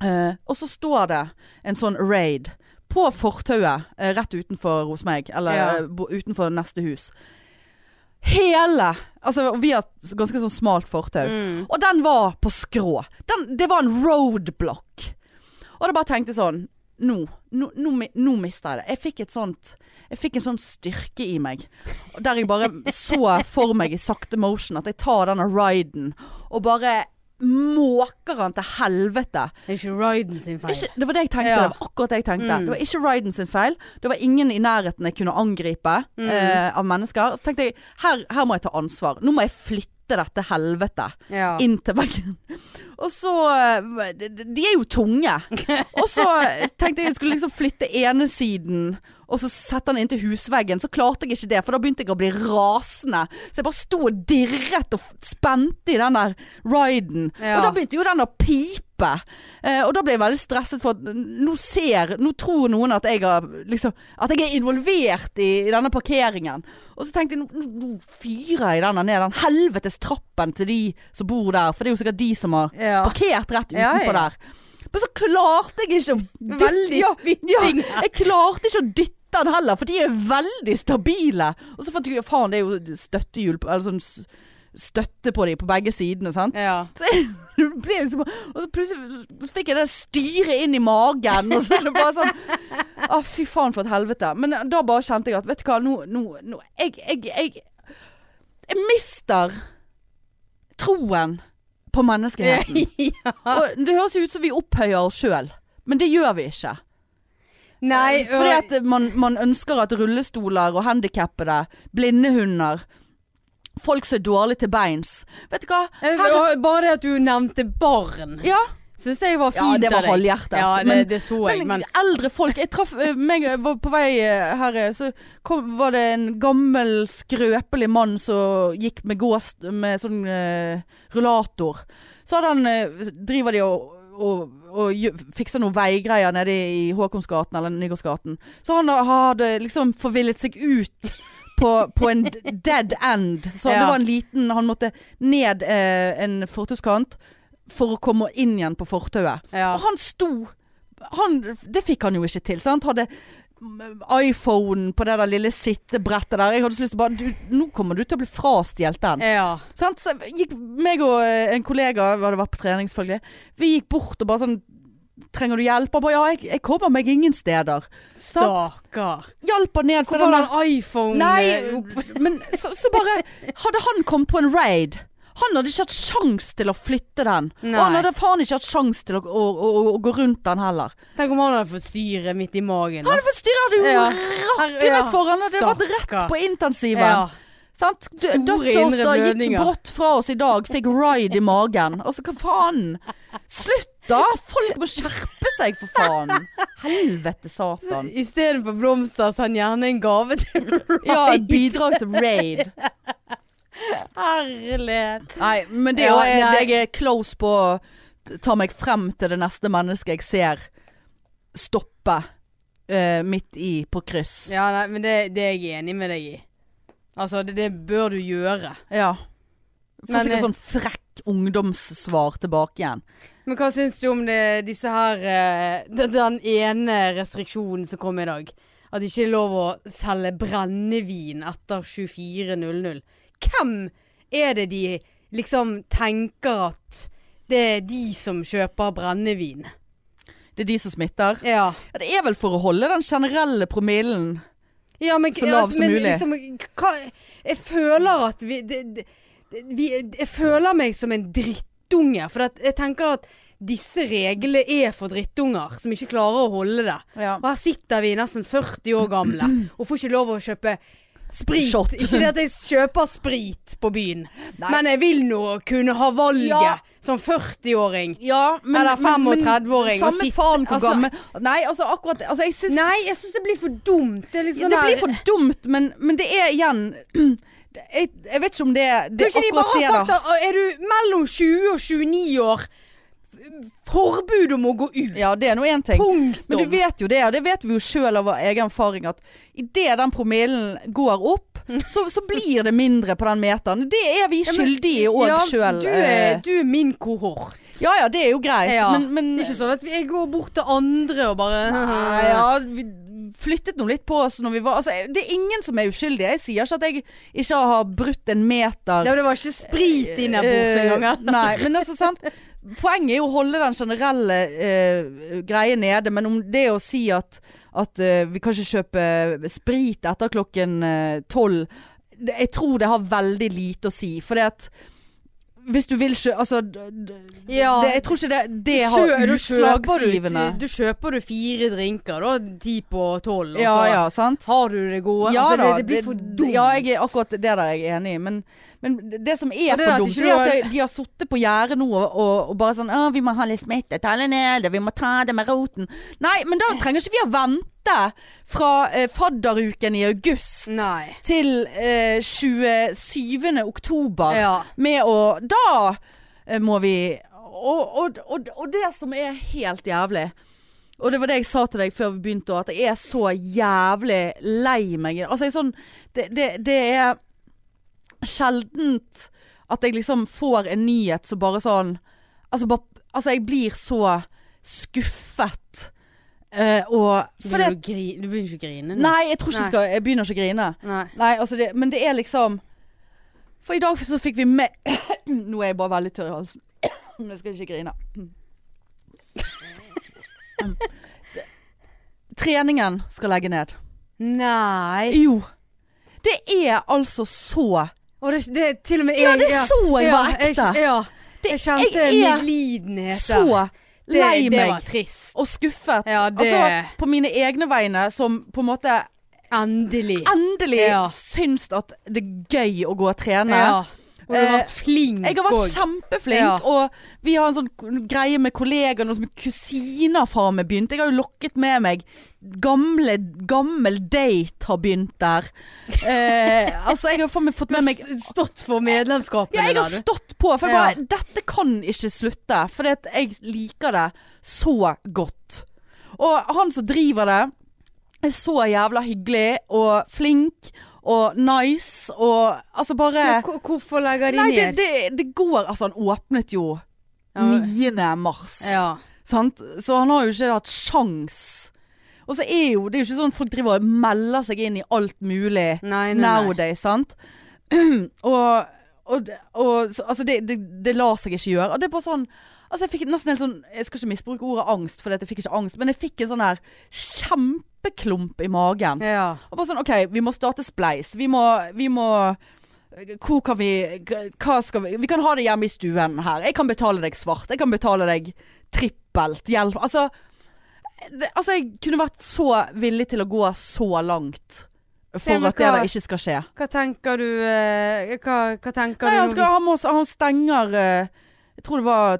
eh, og så står det en sånn raid på fortauet eh, rett utenfor hos meg, eller
Ja.
eh, bo- utenfor neste hus. Hele Altså, vi har et ganske sånn smalt fortau.
Mm.
Og den var på skrå. Den, det var en roadblock. Og da bare tenkte jeg sånn Nå, nå, nå, mi- nå mister jeg det. Jeg fikk et sånt Jeg fikk en sånn styrke i meg. Der jeg bare så for meg i sakte motion at jeg tar denne riden og bare måker han til helvete.
Det er ikke Ryden sin feil.
Ikke, det var det jeg tenkte.
Ja.
Det var akkurat det jeg tenkte.
Mm.
Det var ikke Ryden sin feil. Det var ingen i nærheten jeg kunne angripe
Mm.
eh, av mennesker. Så tenkte jeg her, her må jeg ta ansvar. Nå må jeg flytte dette helvete
Ja.
inn til veggen. Og så eh, De de er jo tunge. Og så tenkte jeg jeg skulle liksom flytte ene siden. Og så sette den inntil husveggen. Så klarte jeg ikke det, for da begynte jeg å bli rasende. Så jeg bare sto og dirret og f- spente i den der riden.
Ja.
Og da begynte jo den å pipe. Eh, og da ble jeg veldig stresset for at n- nå ser Nå tror noen at jeg, har, liksom, at jeg er involvert i, i denne parkeringen. Og så tenkte jeg nå, nå- nå fyrer jeg denne ned den helvetes trappen til de som bor der. For det er jo sikkert de som har
Ja.
parkert rett
Ja,
utenfor
ja.
der. Men så klarte jeg ikke å dytte
Veldig spytting
Ja,
her.
jeg klarte ikke å dytte den heller, for de er veldig stabile. Og så fant jeg ut ja, faen, det er jo støttehjul på- Eller sånn s- støtte på de på begge sidene, sant.
Ja.
Så jeg det ble liksom Og så plutselig så fikk jeg det styret inn i magen, og så er det bare sånn Å, fy faen for et helvete. Men da bare kjente jeg at Vet du hva, nå, nå, nå jeg, jeg, jeg Jeg mister troen på menneskeheten. Og det høres jo ut som vi opphøyer oss sjøl, men det gjør vi ikke.
Nei,
Fordi at man, man ønsker at rullestoler og handikappede, blindehunder, folk som er dårlige til beins Vet du hva?
Eh,
Her-
og Bare det at du nevnte barn,
ja.
syns jeg var
Ja,
fint av
det
deg.
var halvhjertet,
Ja, det,
men-
det så jeg,
Men,
men
eldre folk Jeg traff eh, meg jeg var på vei eh, her, eh, så kom, var det en gammel, skrøpelig mann som gikk med gås med sånn eh, rullator. Så hadde han eh, Driver de og og, og gjø- fikser noen veigreier nede i Håkonsgaten eller Nygårdsgaten. Så han hadde liksom forvillet seg ut på, på en dead end. Så det
Ja.
var en liten Han måtte ned eh, en fortauskant for å komme inn igjen på fortauet.
ja.
Og han sto han, Det fikk han jo ikke til, sant? Hadde mm, iPhone på det der lille sittebrettet der. Jeg hadde så lyst til å bare du, Nå kommer du til å bli frastjålet den.
ja.
Sant? Så jeg gikk meg og eh, en kollega, vi hadde vært på trening selvfølgelig, vi gikk bort og bare sånn Trenger du hjelp? Han bare ja, jeg, jeg kommer meg ingen steder. Sant?
Stakkar.
Hjalp han ned fra
Hvorfor
den
har
der
han iPhone? eh, opp-
Nei, men så, så bare Hadde han kommet på en raid Han hadde ikke hatt sjans til å flytte den Og han
Nei.
hadde faen ikke hatt sjans til å, å, å, å gå rundt den heller
Tenk om han hadde fått styret midt i magen. da.
Han forstyrret jo
Ja.
rakket
Ja,
rett foran Det hadde vært rett
stakkar.
på intensiven
Ja.
Sant? D-
Store
Dødsårsa
indre
gikk
blødninger.
brått fra oss i dag Fikk ride i magen Altså hva faen Slutt da Folk må skjerpe seg for faen Helvete satan
Istedenfor blomster, send gjerne en gave til Ryan.
Ja, et bidrag til raid
Herlighet.
Nei, men det
Ja,
også er
nei.
jeg er close på å t- ta meg frem til det neste mennesket jeg ser stoppe eh, midt i på kryss. Ja.
Ja, nei, men det, det er jeg enig med deg i. Altså, det, det bør du gjøre.
Får
Men,
sikkert
eh,
sånn frekk ungdomssvar tilbake igjen.
Men hva syns du om det, disse her eh, den, den ene restriksjonen som kom i dag? At det ikke er lov å selge brennevin etter 24.00. Hvem er det de liksom tenker at det er de som kjøper brennevin?
Det er de som smitter.
Ja.
Ja, det er vel for å holde den generelle promillen.
Ja, men,
Så lav som
men,
mulig.
Liksom, hva, jeg føler at vi, det, det, vi Jeg føler meg som en drittunge. For at jeg tenker at disse reglene er for drittunger som ikke klarer å holde det.
Ja.
Og her sitter vi nesten 40 år gamle og får ikke lov å kjøpe sprit.
Shot.
Ikke det at jeg kjøper sprit på byen,
Nei.
men jeg vil nå kunne ha valget
Ja.
som 40-åring.
men,
Eller
men- men
35-åring og
Samme
sitte-
faen hvor
altså-
gammel Nei, altså akkurat altså, jeg synes,
Nei, jeg syns det blir for dumt. Det, er litt
ja,
sånn
Det blir
her-
for dumt, men, men det er igjen det- jeg, jeg vet ikke om det, det er
Kanskje de
akkurat
bare
det,
har
da.
sagt at er du mellom 20 og 29 år Forbud om å gå ut.
Ja, det er nå én ting. Men du
Punktum.
vet jo det, og det vet vi jo sjøl av vår egen erfaring, at idet den promillen går opp, så, så blir det mindre på den meteren. Det er vi
men-
skyldige òg
ja,
sjøl.
Du, er- du er min kohort.
Ja ja, eh. det er jo greit,
Ja.
men, men
Det er ikke sånn at jeg går bort til andre og bare
Nei, ja, vi flyttet nå litt på oss når vi var altså, Det er ingen som er uskyldig. Jeg sier ikke at jeg ikke har brutt en meter.
Ja, Det var ikke sprit innabords
Eh,
engang. eller?
Nei, men altså sant Poenget er jo å holde den generelle eh, greia nede Men om det å si at, at eh, vi kan ikke kjøpe sprit etter klokken eh, tolv Jeg tror det har veldig lite å si For det at hvis du vil kjø... Altså, d- d-
Ja.
det, jeg tror ikke det, det
Du
har
kjø- du kjøper du-
utslagsgivende
Du, du kjøper du fire drinker, da. Ti på tolv. og
Ja,
så
ja, sant?
Har du det gode?
Ja
altså,
da,
det, det blir for dumt.
Ja, jeg er akkurat det der er jeg enig i. Men, men det som er
Og
for
det er at
dumt,
ikke
det er
du
at
har-
de- de har sittet på gjerdet nå og, og, og bare sånn Å, vi må ha litt smittetallet nede, vi må ta det med roten. Nei, men da trenger ikke vi å vente fra eh, fadderuken i august
Nei.
til eh, 27. oktober
Ja.
med å Da eh, må vi og, og, og, og det som er helt jævlig og det var det jeg sa til deg før vi begynte også, At jeg er så jævlig lei meg Altså jeg er sånn Det, det, det er sjeldent At jeg liksom får en nyhet Som bare sånn Altså, bare, altså jeg blir så skuffet. Eh, og
Du
for det,
begynner å gri- du begynner ikke å grine nå?
Nei, jeg tror ikke jeg skal Jeg begynner ikke å grine.
Nei.
Nei, altså det, men det er liksom For i dag så fikk vi med Nå er jeg bare veldig tørr i halsen. Men jeg skal ikke grine. Det- Treningen skal legge ned.
Nei.
Jo. Det er altså så
Og det, det er til og med
Ja, det så jeg var ekte.
Jeg, ja.
Det-
Jeg kjente
jeg er
medlidenhet der.
Så
Det-
lei
Det var
meg
trist.
og skuffet.
Ja, det
Altså på mine egne vegne, som på en måte
Endelig.
endelig
Ja.
syns at det er gøy å gå og trene.
Ja. Og du har
Eh,
vært flink
Jeg har vært
Mm. og-
kjempeflink,
Ja.
og vi har en sånn k- greie med kollegaer og som kusiner fra meg begynt. Jeg har jo lokket med meg Gamle, gammel date har begynt der. Eh, altså, jeg har faen meg fått
Du har
med meg
st- stått for medlemskapene
Ja, jeg har
der, du.
stått på, for jeg
Ja.
bare Dette kan ikke slutte, for jeg liker det så godt. Og han som driver det, er så jævla hyggelig og flink og nice og altså bare
Men hvor- Hvorfor legger de
Nei, det,
ned?
det, det går Altså, han åpnet jo
Ja, men-
9. mars.
Ja.
Sant? Så han har jo ikke hatt sjans. Og så er jo Det er jo ikke sånn at folk driver og melder seg inn i alt mulig
Nei, nei, nei.
nowadays, sant? og og, det- og så, altså det, det, det lar seg ikke gjøre. Og det er bare sånn Altså jeg fikk nesten helt sånn Jeg skal ikke misbruke ordet angst, for jeg fikk ikke angst, men jeg fikk en sånn her kjempeklump i magen.
Ja.
Og bare sånn, ok, vi må starte Spleis. Vi må, vi må Hvor kan vi Hva skal vi Vi kan ha det hjemme i stuen her. Jeg kan betale deg svart. Jeg kan betale deg trippelt. Hjelp. Altså, det, altså jeg kunne vært så villig til å gå så langt
Nei,
for
men
at det
hva-
der ikke skal skje.
Hva tenker du eh, Hva, hva tenker
Nei,
du
han,
når
skal, han, må, han stenger eh, Jeg tror det var eh,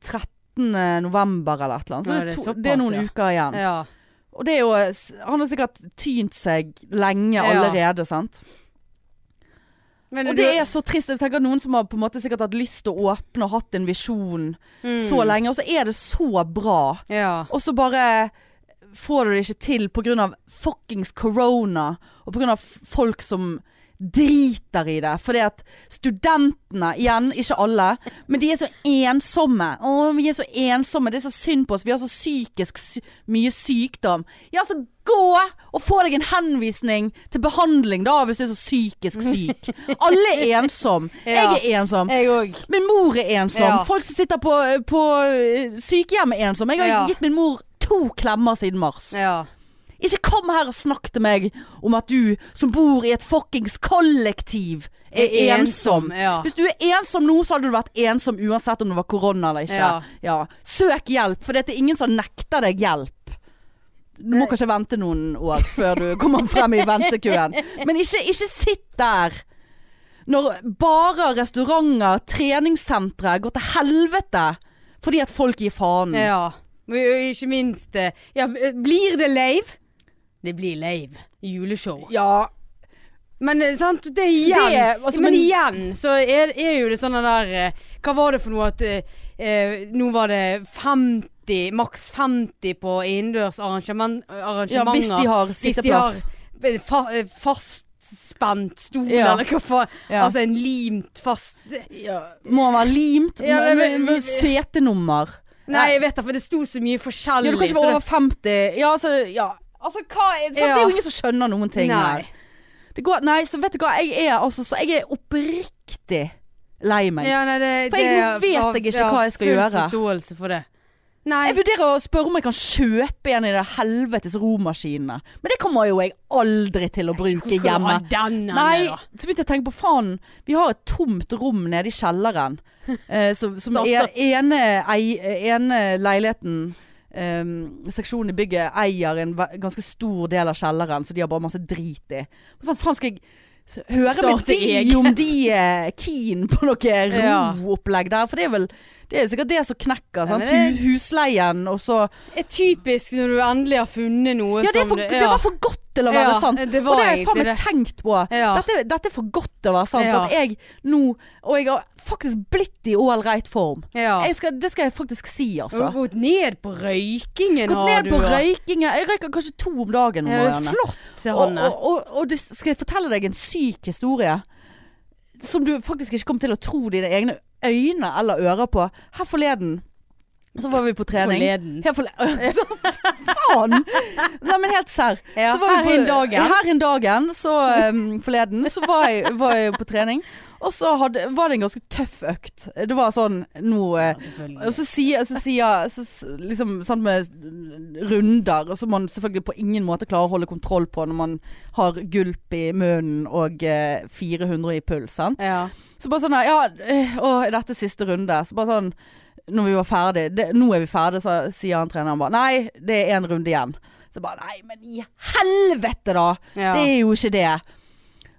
13. november eller et eller annet. Så
Ja,
det, er
det er
to,
såpass,
det er noen
ja.
uker igjen.
du Ja.
Og det er jo eh, Han har sikkert tynt seg lenge
Ja.
allerede, sant?
Men
Og
du-
det er så trist. Jeg tenker Noen som har på en måte sikkert hatt lyst til å åpne og hatt en visjon
Mm.
så lenge, og så er det så bra.
Ja.
Og så bare får du det ikke til pga. fuckings corona, og pga. folk som driter i det. Fordi at studentene, igjen, ikke alle, men de er så ensomme. Å, vi er så ensomme. Det er så synd på oss. Vi har så psykisk sy mye sykdom. Ja, så gå og få deg en henvisning til behandling, da, hvis du er så psykisk syk. Alle er ensom.
Ja.
Jeg er ensom.
Jeg òg.
Min mor er ensom.
Ja.
Folk som sitter på, på eh, sykehjem er ensom. Jeg har
Ja.
gitt min mor to klemmer siden mars.
Ja.
Ikke kom her og snakk til meg om at du som bor i et fuckings kollektiv er ensom.
Ja.
Hvis du er ensom nå, så hadde du vært ensom uansett om det var korona eller ikke.
Ja.
Søk hjelp, for det er ingen som nekter deg hjelp. Du må kanskje vente noen år før du kommer frem i ventekøen. Men ikke, ikke sitt der når barer, restauranter, treningssentre går til helvete fordi at folk gir faen.
Ja. Men jo, ikke minst eh, Ja, blir det lave? Det blir lave. Juleshow.
Ja,
Men eh, sant, det er igjen
Det er- altså,
Men
men-
igjen så er, er jo det sånn det der eh, Hva var det for noe at eh, eh, Nå var det 50 Maks 50 på innendørs arrangement,
ja
arrangementer.
hvis de har
Hvis de har
sitteplass.
eh, fa eh, fastspent stol,
Ja.
eller hva faen.
Ja.
Altså en limt fast
Ja, må han være limt?
Ja,
Må-
men-
må- må- Setenummer?
Nei, jeg vet det, for det sto så mye forskjellig.
Ja, du kan ikke
så
være
det-
over 50 Ja, altså, ja. altså hva er, sant?
Ja.
Det er jo ingen som skjønner noen ting
Nei.
her. Det går, nei, så vet du hva, jeg er altså så Jeg er oppriktig lei meg.
Ja, nei, det,
For jeg-
det-
nå vet
ja,
jeg ikke
ja,
hva jeg skal
full
gjøre.
forståelse for det. Nei,
Jeg vurderer å spørre om jeg kan kjøpe en i de helvetes romaskinene. Men det kommer jo jeg aldri til å bruke
hvor skal du
hjemme.
ha den henne,
Nei,
da?
så begynte jeg å tenke på faen. Vi har et tomt rom nede i kjelleren. Eh, som som
Stappet.
er, ene, ei, ene leiligheten eh, Seksjonen i bygget eier en ve- ganske stor del av kjelleren, så de har bare masse drit i. Men Sånn, faen skal jeg s- høre med
Starte
de
eget.
om de er keen på noe
Ja.
roopplegg der? For det er vel det er sikkert det som knekker. Sant?
men
Hu- Husleien og så
er typisk når du endelig har funnet noe
Ja, det, er
som
for,
du-
det var for godt til å være
Ja,
sant.
det var
og det har jeg
egentlig
faen meg
det.
tenkt på.
Ja.
Dette, dette er for godt til å være sant.
Ja.
At jeg nå Og jeg har faktisk blitt i all right form.
ja.
Jeg skal, det skal jeg faktisk si,
Du har
altså.
gått ned på røykingen,
Gått
har
ned
du.
på
og-
røykingen. Jeg røyker kanskje to om dagen.
Ja, det er
Marianne.
flott,
og,
Hanne.
og, og, og det, skal jeg fortelle deg en syk historie? Som du faktisk ikke kommer til å tro dine egne øyne eller ører på. Her forleden Så var vi på trening.
Forleden.
Helt forle- Så, Faen! Nei, men helt serr.
Ja,
Så var vi
her
på-
innen dagen.
Her innen dagen, så em, forleden, så var jeg, var jeg på trening. Og så hadde, var det en ganske tøff økt. Det var sånn nå eh, og
selvfølgelig.
så sier, så sier så, s- liksom, sant, med runder, og som man selvfølgelig på ingen måte klarer å holde kontroll på når man har gulp i munnen og eh, 400 i puls. Sant?
Ja.
Så bare sånn her, Ja, eh, å, er dette siste runde? Så bare sånn Når vi var ferdig det, Nå er vi ferdig, så sier han treneren bare Nei, det er én runde igjen. Så bare Nei, men i helvete, da!
ja.
Det er jo ikke det.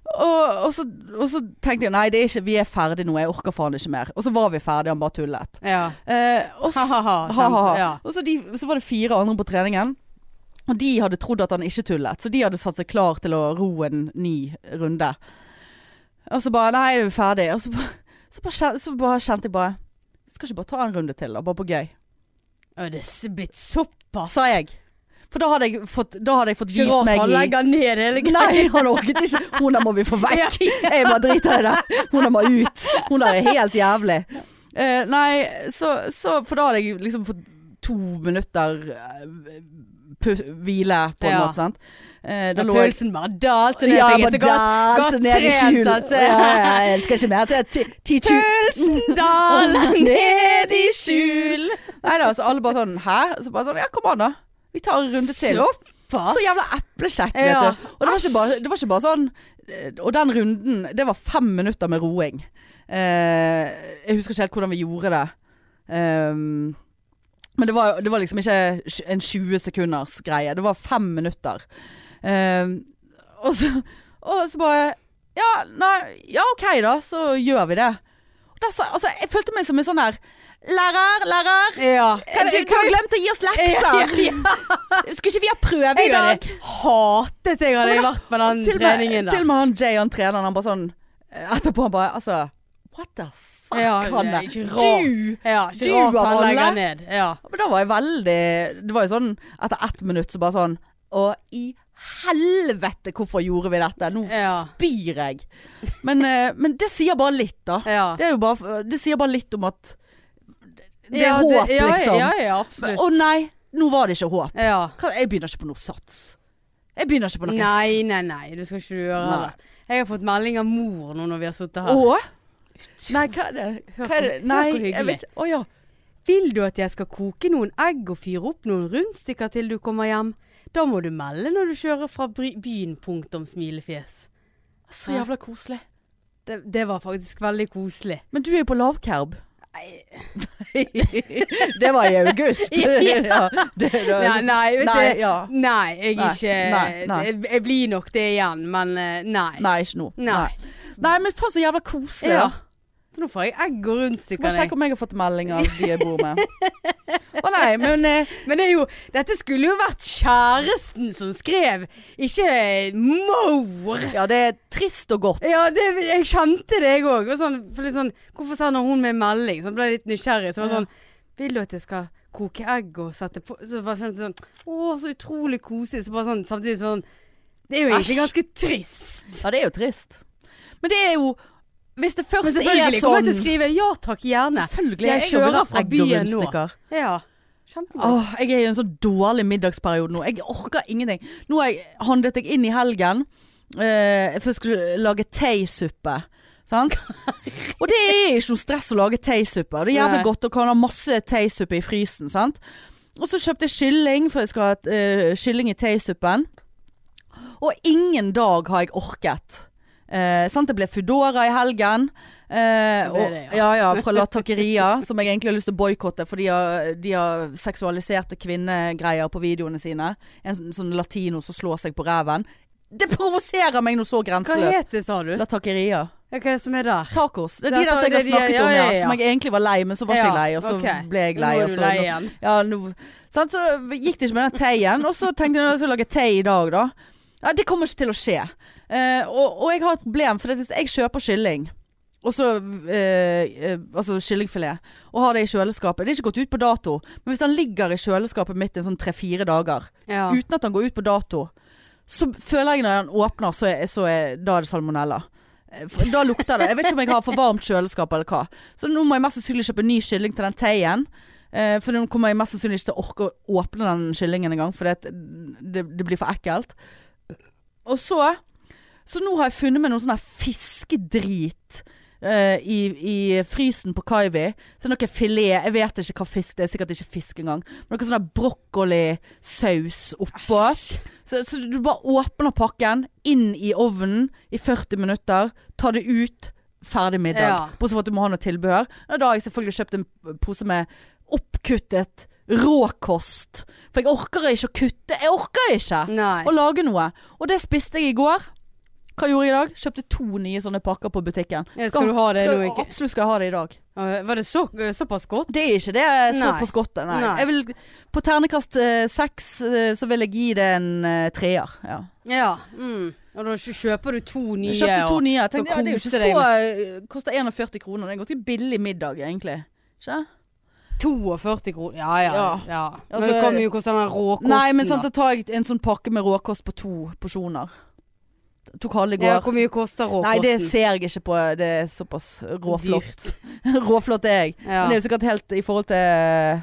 Og, og, så, og så tenkte jeg nei, det er ikke, vi er ferdig nå, jeg orker faen ikke mer. Og så var vi ferdig, han bare tullet.
ja.
Eh, og, så,
Ha-ha-ha.
ha, ha, ha.
Ja.
og så, de, så var det fire andre på treningen. Og de hadde trodd at han ikke tullet, så de hadde satt seg klar til å ro en ny runde. Og så bare Nei, er vi ferdig? Og så, bare, så, bare, kjen- så bare kjente jeg bare Vi skal ikke bare ta en runde til, da, bare på gøy.
Å, det er s- blitt såpass.
Sa jeg. For da hadde jeg fått, da hadde jeg fått
Ikke
gitt
rart
meg
han
i
legger ned hele greia.
Nei, han orket ikke. Hun der må vi få vekk. Jeg bare driter i det. Hun der må ut. Hun der er helt jævlig. Eh, nei, så, så For da hadde jeg liksom fått to minutter eh, pu hvile, på en
Ja.
måte. Sant? Eh, da
Da
lå jeg
pulsen bare dalte ned.
ja,
tenkte
bare
jeg, så godt-
dalte
godt
ned i
trent
skjul.
at-
Ja, ja, jeg skal ikke mer til ti- ti- tju-
Pulsen daler ned i skjul.
Nei da, så alle bare sånn Hæ? Så bare sånn Ja, kom an, da. Vi tar en runde til.
Såpass.
Så jævla eplekjekk,
Ja.
vet du. Og det var, ikke bare, det var ikke bare sånn Og den runden, det var fem minutter med roing. Eh, jeg husker ikke helt hvordan vi gjorde det. Ehm, men det var, det var liksom ikke sj- en 20 sekunders greie. Det var fem minutter. Ehm, og, så, og så bare Ja, nei, ja OK, da. Så gjør vi det. Og der, sa- altså, jeg følte meg som en sånn her Lærer, lærer.
Ja.
Du du har glemt å gi oss lekser. Skulle ikke vi ha prøve i
Jeg
dag?
hadde hatet jeg hadde jeg vært på den
til og med-
treningen
Til
der.
og med han Jay, han treneren, han bare sånn eh, Etterpå han bare Altså, what the fuck,
Ja, det
Hanne?
er ikke rart.
Du!
Ja,
Du
ikke rart
av
han
alle?
legger ned. Ja.
Men da var jeg veldig Det var jo sånn etter ett minutt så bare sånn Å, i helvete, hvorfor gjorde vi dette? Nå
Ja.
spyr jeg. Men, eh, men det sier bare litt, da.
Ja.
Det, er jo bare, det sier bare litt om at Det er
Ja,
håp,
ja,
liksom.
Ja, ja,
Men,
absolutt.
Å nei, nå var det ikke håp.
Ja.
Hva- Jeg begynner ikke på noe sats. Jeg begynner ikke på noe
Nei, nei, nei. Det skal ikke du gjøre.
Nei.
heller. Jeg har fått melding av mor nå når vi har sittet her.
Å? Nei, hva er det? Hva er det?
hvor-
Nei,
hør hvor
jeg
hyggelig.
vet ikke. Å ja.
Vil du at jeg skal koke noen egg og fyre opp noen rundstykker til du kommer hjem? Da må du melde når du kjører fra bry- byen, punktum smilefjes.
Så jævla koselig.
Det, det var faktisk veldig koselig.
Men du er jo på lavkerb. det var i august. ja, det, det,
Nei, nei, vet
Nei,
du.
ja.
Nei, jeg
Nei,
ikke
nei, nei.
Jeg, jeg blir nok det igjen, men eh, nei.
Nei, ikke nå.
Nei.
Nei, men faen så jævla koselig.
Ja.
da.
Så nå får jeg egg og
Bare
rundstykker.
sjekk
jeg.
om jeg har fått melding av de jeg bor med. Å nei, men eh,
Men det er jo, dette skulle jo vært kjæresten som skrev, ikke mor.
Ja, det er trist og godt.
Ja, det, jeg kjente det jeg òg. Sånn, for litt sånn, hvorfor sender hun meg melding? Så ble jeg litt nysgjerrig. Så var det
Ja.
sånn Vil du at jeg skal koke egg og sette på Så bare sånn, sånn Å, så utrolig koselig. Så bare sånn samtidig sånn Det er jo egentlig
Æsj.
ganske trist.
Ja, det er jo trist. Men det er jo Hvis det først
Men
er
selvfølgelig kommer
sånn
jeg til å skrive ja takk, gjerne.
Selvfølgelig.
Jeg
har
kjører
villet
fra
egg og
byen nå.
rundstykker.
Ja. Kjempegodt.
Åh, jeg er i en så dårlig middagsperiode nå. Jeg orker ingenting. Nå har jeg handlet jeg inn i helgen. eh, for jeg skulle lage teisuppe. Sant? Og det er ikke noe stress å lage teisuppe. Det er jævlig
Nei.
godt å kan ha masse teisuppe i frysen. Sant? Og så kjøpte jeg kylling, for jeg skal ha eh, kylling i teisuppen. Og ingen dag har jeg orket. Eh, sant? Det ble Foodora i helgen. Eh,
Det ble
og,
det, ja.
ja, ja, fra La Taqueria, som jeg egentlig har lyst til å boikotte, for de har, de har seksualiserte kvinnegreier på videoene sine. En sånn, sånn latino som slår seg på ræven. Det provoserer meg noe så
Hva
grenseløst.
het det, sa du?
La Taqueria.
Hva er det som er der?
Tacos. Det er
Det
de
er
der som jeg
det
har
de-
snakket
ja,
om, ja.
ja, ja.
Som jeg egentlig var lei, men så var ikke
Ja,
jeg lei, og så
ok.
ble jeg lei.
Nå
og
er
så-
du lei igjen.
ja, nå- sant? Så gikk det ikke med den teien. Og så tenkte jeg at jeg skulle lage te i dag, da. Ja, det kommer ikke til å skje. Eh, og, og jeg har et problem, for at hvis jeg kjøper kylling og så, eh, eh, altså kyllingfilet. Og har det i kjøleskapet. Det er ikke gått ut på dato. Men hvis den ligger i kjøleskapet mitt i sånn tre-fire dager,
Ja.
uten at den går ut på dato, så føler jeg når den åpner, så er, så er da er det salmonella. Eh, for- Da lukter det. Jeg vet ikke om jeg har for varmt kjøleskap eller hva. Så nå må jeg mest sannsynlig kjøpe ny kylling til den teien. Eh, for den kommer jeg mest sannsynlig ikke til å orke å åpne den kyllingen engang, for det, det, det blir for ekkelt. Og så Så nå har jeg funnet meg noe sånn her fiskedrit eh, i, i frysen på Kaivi. Så noe filet Jeg vet ikke hva fisk det er, sikkert ikke fisk engang. Men noe sånn her brokkolisaus oppå. Så, så du bare åpner pakken, inn i ovnen i 40 minutter, tar det ut, ferdig middag.
Ja.
Bortsett fra at du må ha noe tilbehør. Og da har jeg selvfølgelig kjøpt en pose med oppkuttet råkost. For jeg orker ikke å kutte. Jeg orker ikke
Nei.
å lage noe. Og det spiste jeg i går. Hva gjorde jeg i dag? Kjøpte to nye sånne pakker på butikken.
Ja, skal du ha det
skal,
nå, ikke?
Absolutt skal jeg ha det i dag.
Å, Var det så, såpass godt?
Det er ikke det jeg står
Nei.
på skottet. Nei.
Nei.
Jeg vil, på ternekast eh, seks eh, så vil jeg gi det en eh, treer. Ja.
Ja. Mm. Og da kjø- kjøper du to nye.
Jeg kjøpte to
og-
nye. Jeg tenkte, ja, det
så
er jo
koste
ikke
deg
så eh, Koster 41 kroner. Det er en ganske billig middag, egentlig. Ikke?
42 kroner. Ja, ja. ja.
Ja.
Men
Altså-
det kommer jo hvordan den råkosten
Nei, men sant,
da.
da tar jeg en sånn pakke med råkost på to porsjoner. Tok halve i går.
Ja, hvor mye koster
Nei,
råkosten?
det ser jeg ikke på. Det er såpass råflott. råflott er jeg.
Ja.
Men det er jo sikkert helt i forhold til eh,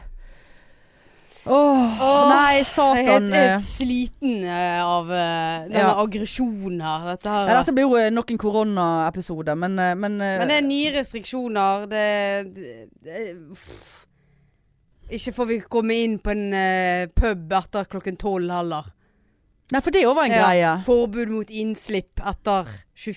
Åh,
Åh,
nei,
Jeg er helt,
satan. eh.
helt sliten eh, av eh, denne
Ja.
aggresjonen her. Dette her.
Ja, dette blir jo eh, nok en koronaepisode, men, eh, men, eh,
Men det er nye restriksjoner. Det, det, det uff. Ikke får vi komme inn på en eh, pub etter klokken tolv heller.
Nei, for det òg var en greie.
Forbud mot innslipp etter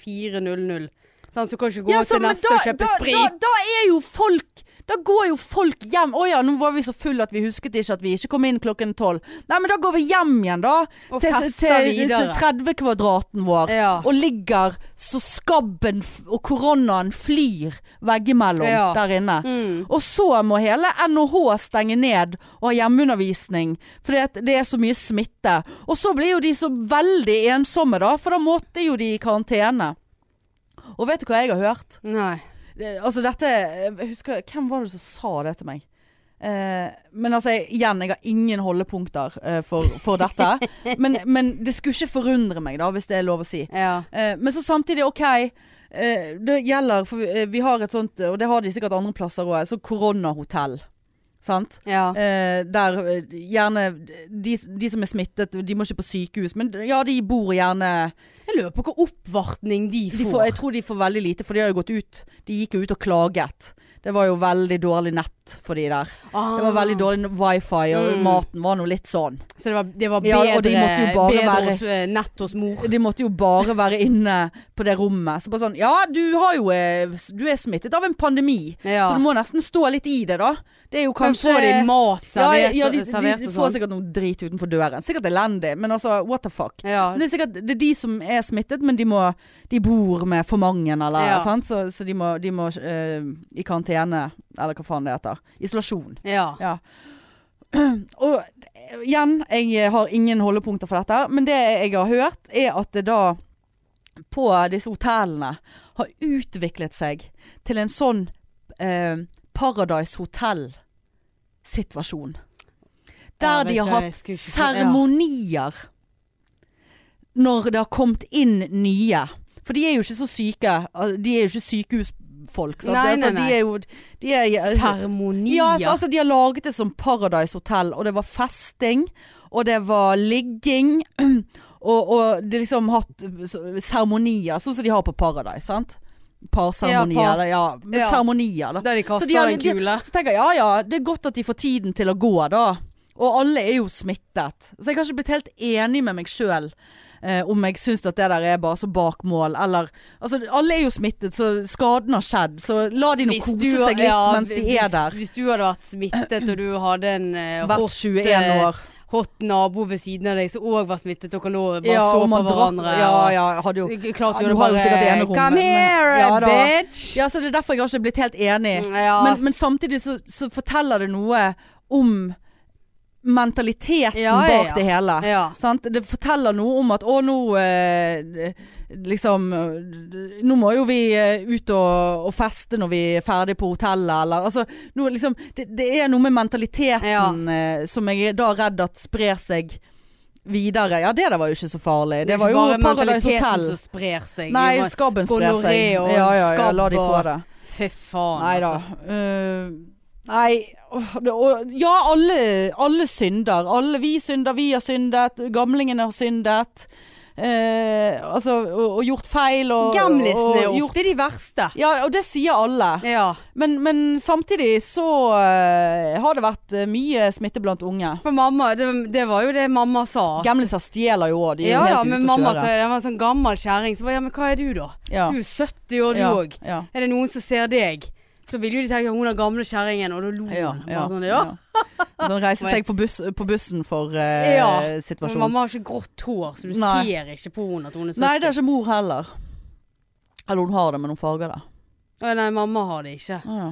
24.00. Sånn, så kan du ikke gå
Ja, så,
til
men
neste
da,
og kjøpe
da, da,
sprit.
da er jo folk Da går jo folk hjem. Å ja, nå var vi så fulle at vi husket ikke at vi ikke kom inn klokken tolv. Nei, men da går vi hjem igjen, da.
Og
til til,
fester
til
videre.
30-kvadraten vår.
ja.
Og ligger så skabben f og koronaen flyr veggimellom
Ja.
der inne.
Mm.
Og så må hele NHH stenge ned og ha hjemmeundervisning, fordi at det er så mye smitte. Og så blir jo de så veldig ensomme, da, for da måtte jo de i karantene. Og vet du hva jeg har hørt?
Nei.
Det, altså dette jeg husker, Hvem var det som sa det til meg? Eh, men altså, jeg- igjen, jeg har ingen holdepunkter eh, for, for dette. Men, men det skulle ikke forundre meg, da, hvis det er lov å si.
Ja.
Eh, men så samtidig, ok. eh, det gjelder, for vi, eh, vi har et sånt, og det har de sikkert andre plasser òg, så koronahotell. Sant?
Ja.
Eh, der eh, gjerne de, de som er smittet, de må ikke på sykehus, men ja, de bor gjerne
Jeg lurer på hva oppvartning de får.
de får, Jeg tror de får veldig lite, for de har jo gått ut. De gikk jo ut og klaget. Det var jo veldig dårlig nett for de der.
Ah.
Det var veldig dårlig wifi, og
Mm.
maten var nå litt sånn.
Så det var, det var bedre,
Ja, og de måtte jo bare
bedre
være-
hos, eh, nett hos mor.
De måtte jo bare være inne på det rommet. Så bare sånn Ja, du har jo eh, Du er smittet av en pandemi.
Ja.
Så du må nesten stå litt i det, da. Det er jo
Men
kanskje
får de mat
ja,
servert,
ja, de, de,
servert
de
og
får
sånn?
sikkert noe drit utenfor døren. Sikkert elendig, men altså, what the fuck.
Ja.
Men det er sikkert det er de som er smittet, men de, må, de bor med for mange, eller
Ja.
sant? Så, så de må, de må eh, i karantene, eller hva faen det heter. Isolasjon.
ja.
Ja. Og igjen, jeg har ingen holdepunkter for dette, men det jeg har hørt, er at det da på disse hotellene har utviklet seg til en sånn eh, Paradise Hotel-situasjon.
Ja,
Der
vet
de
du,
har
jeg
hatt
skulle ikke-
seremonier når det har kommet inn nye. For de er jo ikke så syke. al- De er jo ikke sykehusfolk. sant?
Nei,
Altså,
nei, nei.
De er jo, de er, eh,
Seremonier.
ja, altså, altså, de har laget det som Paradise Hotel, og det var festing, og det var ligging, og, og de liksom hatt eh, så- seremonier, sånn som de har på Paradise, sant? Parseremonier,
Ja, par-
eller ja, men
ja.
seremonier da.
Der de kaster
Så de har-
en kule.
Så tenker jeg, ja ja, det er godt at de får tiden til å gå da. Og alle er jo smittet. Så jeg har ikke blitt helt enig med meg sjøl. Eh, om jeg syns at det der er bare så bak mål, eller Altså, alle er jo smittet, så skaden har skjedd. Så la de nå
Hvis
kose
du-
seg litt
ja,
mens de er
hvis-
der.
Hvis du hadde vært smittet og du hadde en eh,
Hvert
hot,
21 år.
eh, hot nabo ved siden av deg som òg var smittet, og lå bare så
og
på
man drakk-
hverandre.
Ja,
og-
ja, jeg hadde jo
Klart
Ja,
du
du har jo
hadde
sikkert
bare
enerom,
Come
men-
here,
Ja da.
bitch!
Ja, så det er derfor jeg har ikke blitt helt enig.
Mm, Ja.
Men, men samtidig så, så forteller det noe om mentaliteten
Ja, ja,
bak
ja.
det hele.
ja.
Sant? Det forteller noe om at å, nå eh, liksom eh, Nå må jo vi eh, ut og, og feste når vi er ferdig på hotellet, eller altså nå, liksom, det, det er noe med mentaliteten
Ja.
eh, som jeg er da redd at sprer seg videre. Ja, det der var jo ikke så farlig. Det,
er
var
ikke
jo
bare
Paradise
mentaliteten
Hotel.
som sprer seg.
Nei,
Jo,
skabben sprer seg.
gonoré og
ja, ja, ja,
skabb
la de få
og-
det.
Fy faen.
Nei da.
altså.
Eh, Nei åh, det, og, Ja, alle, alle synder. Alle vi synder, vi har syndet. Gamlingene har syndet. Eh, altså, og, og gjort feil. Og,
Gamlisene er
og gjort-
ofte de verste.
Ja, og det sier alle.
Ja.
Men, men samtidig så eh, har det vært eh, mye smitte blant unge.
For mamma, det, det var jo det mamma sa.
Gamliser stjeler jo òg. De er
Ja,
jo
ja,
helt
men
ute å
mamma så,
kjøre.
den var en sånn gammel kjerring. Så bare, ja, men hva er du da?
Ja,
Du er 70 år du
ja,
òg.
ja.
Er det noen som ser deg? Så ville jo de tenke hun er gamle kjerringen, og da lo hun.
Ja,
Bare
ja,
sånn, ja.
ja. Sånn reise seg på, buss, på bussen for eh,
Ja. Men
situasjonen.
mamma har ikke grått hår, så du
Nei.
ser ikke på henne at hun er 70.
Nei, det er ikke mor heller. Eller hun har det, men hun farger det.
Å, nei, mamma har det ikke.
Ja.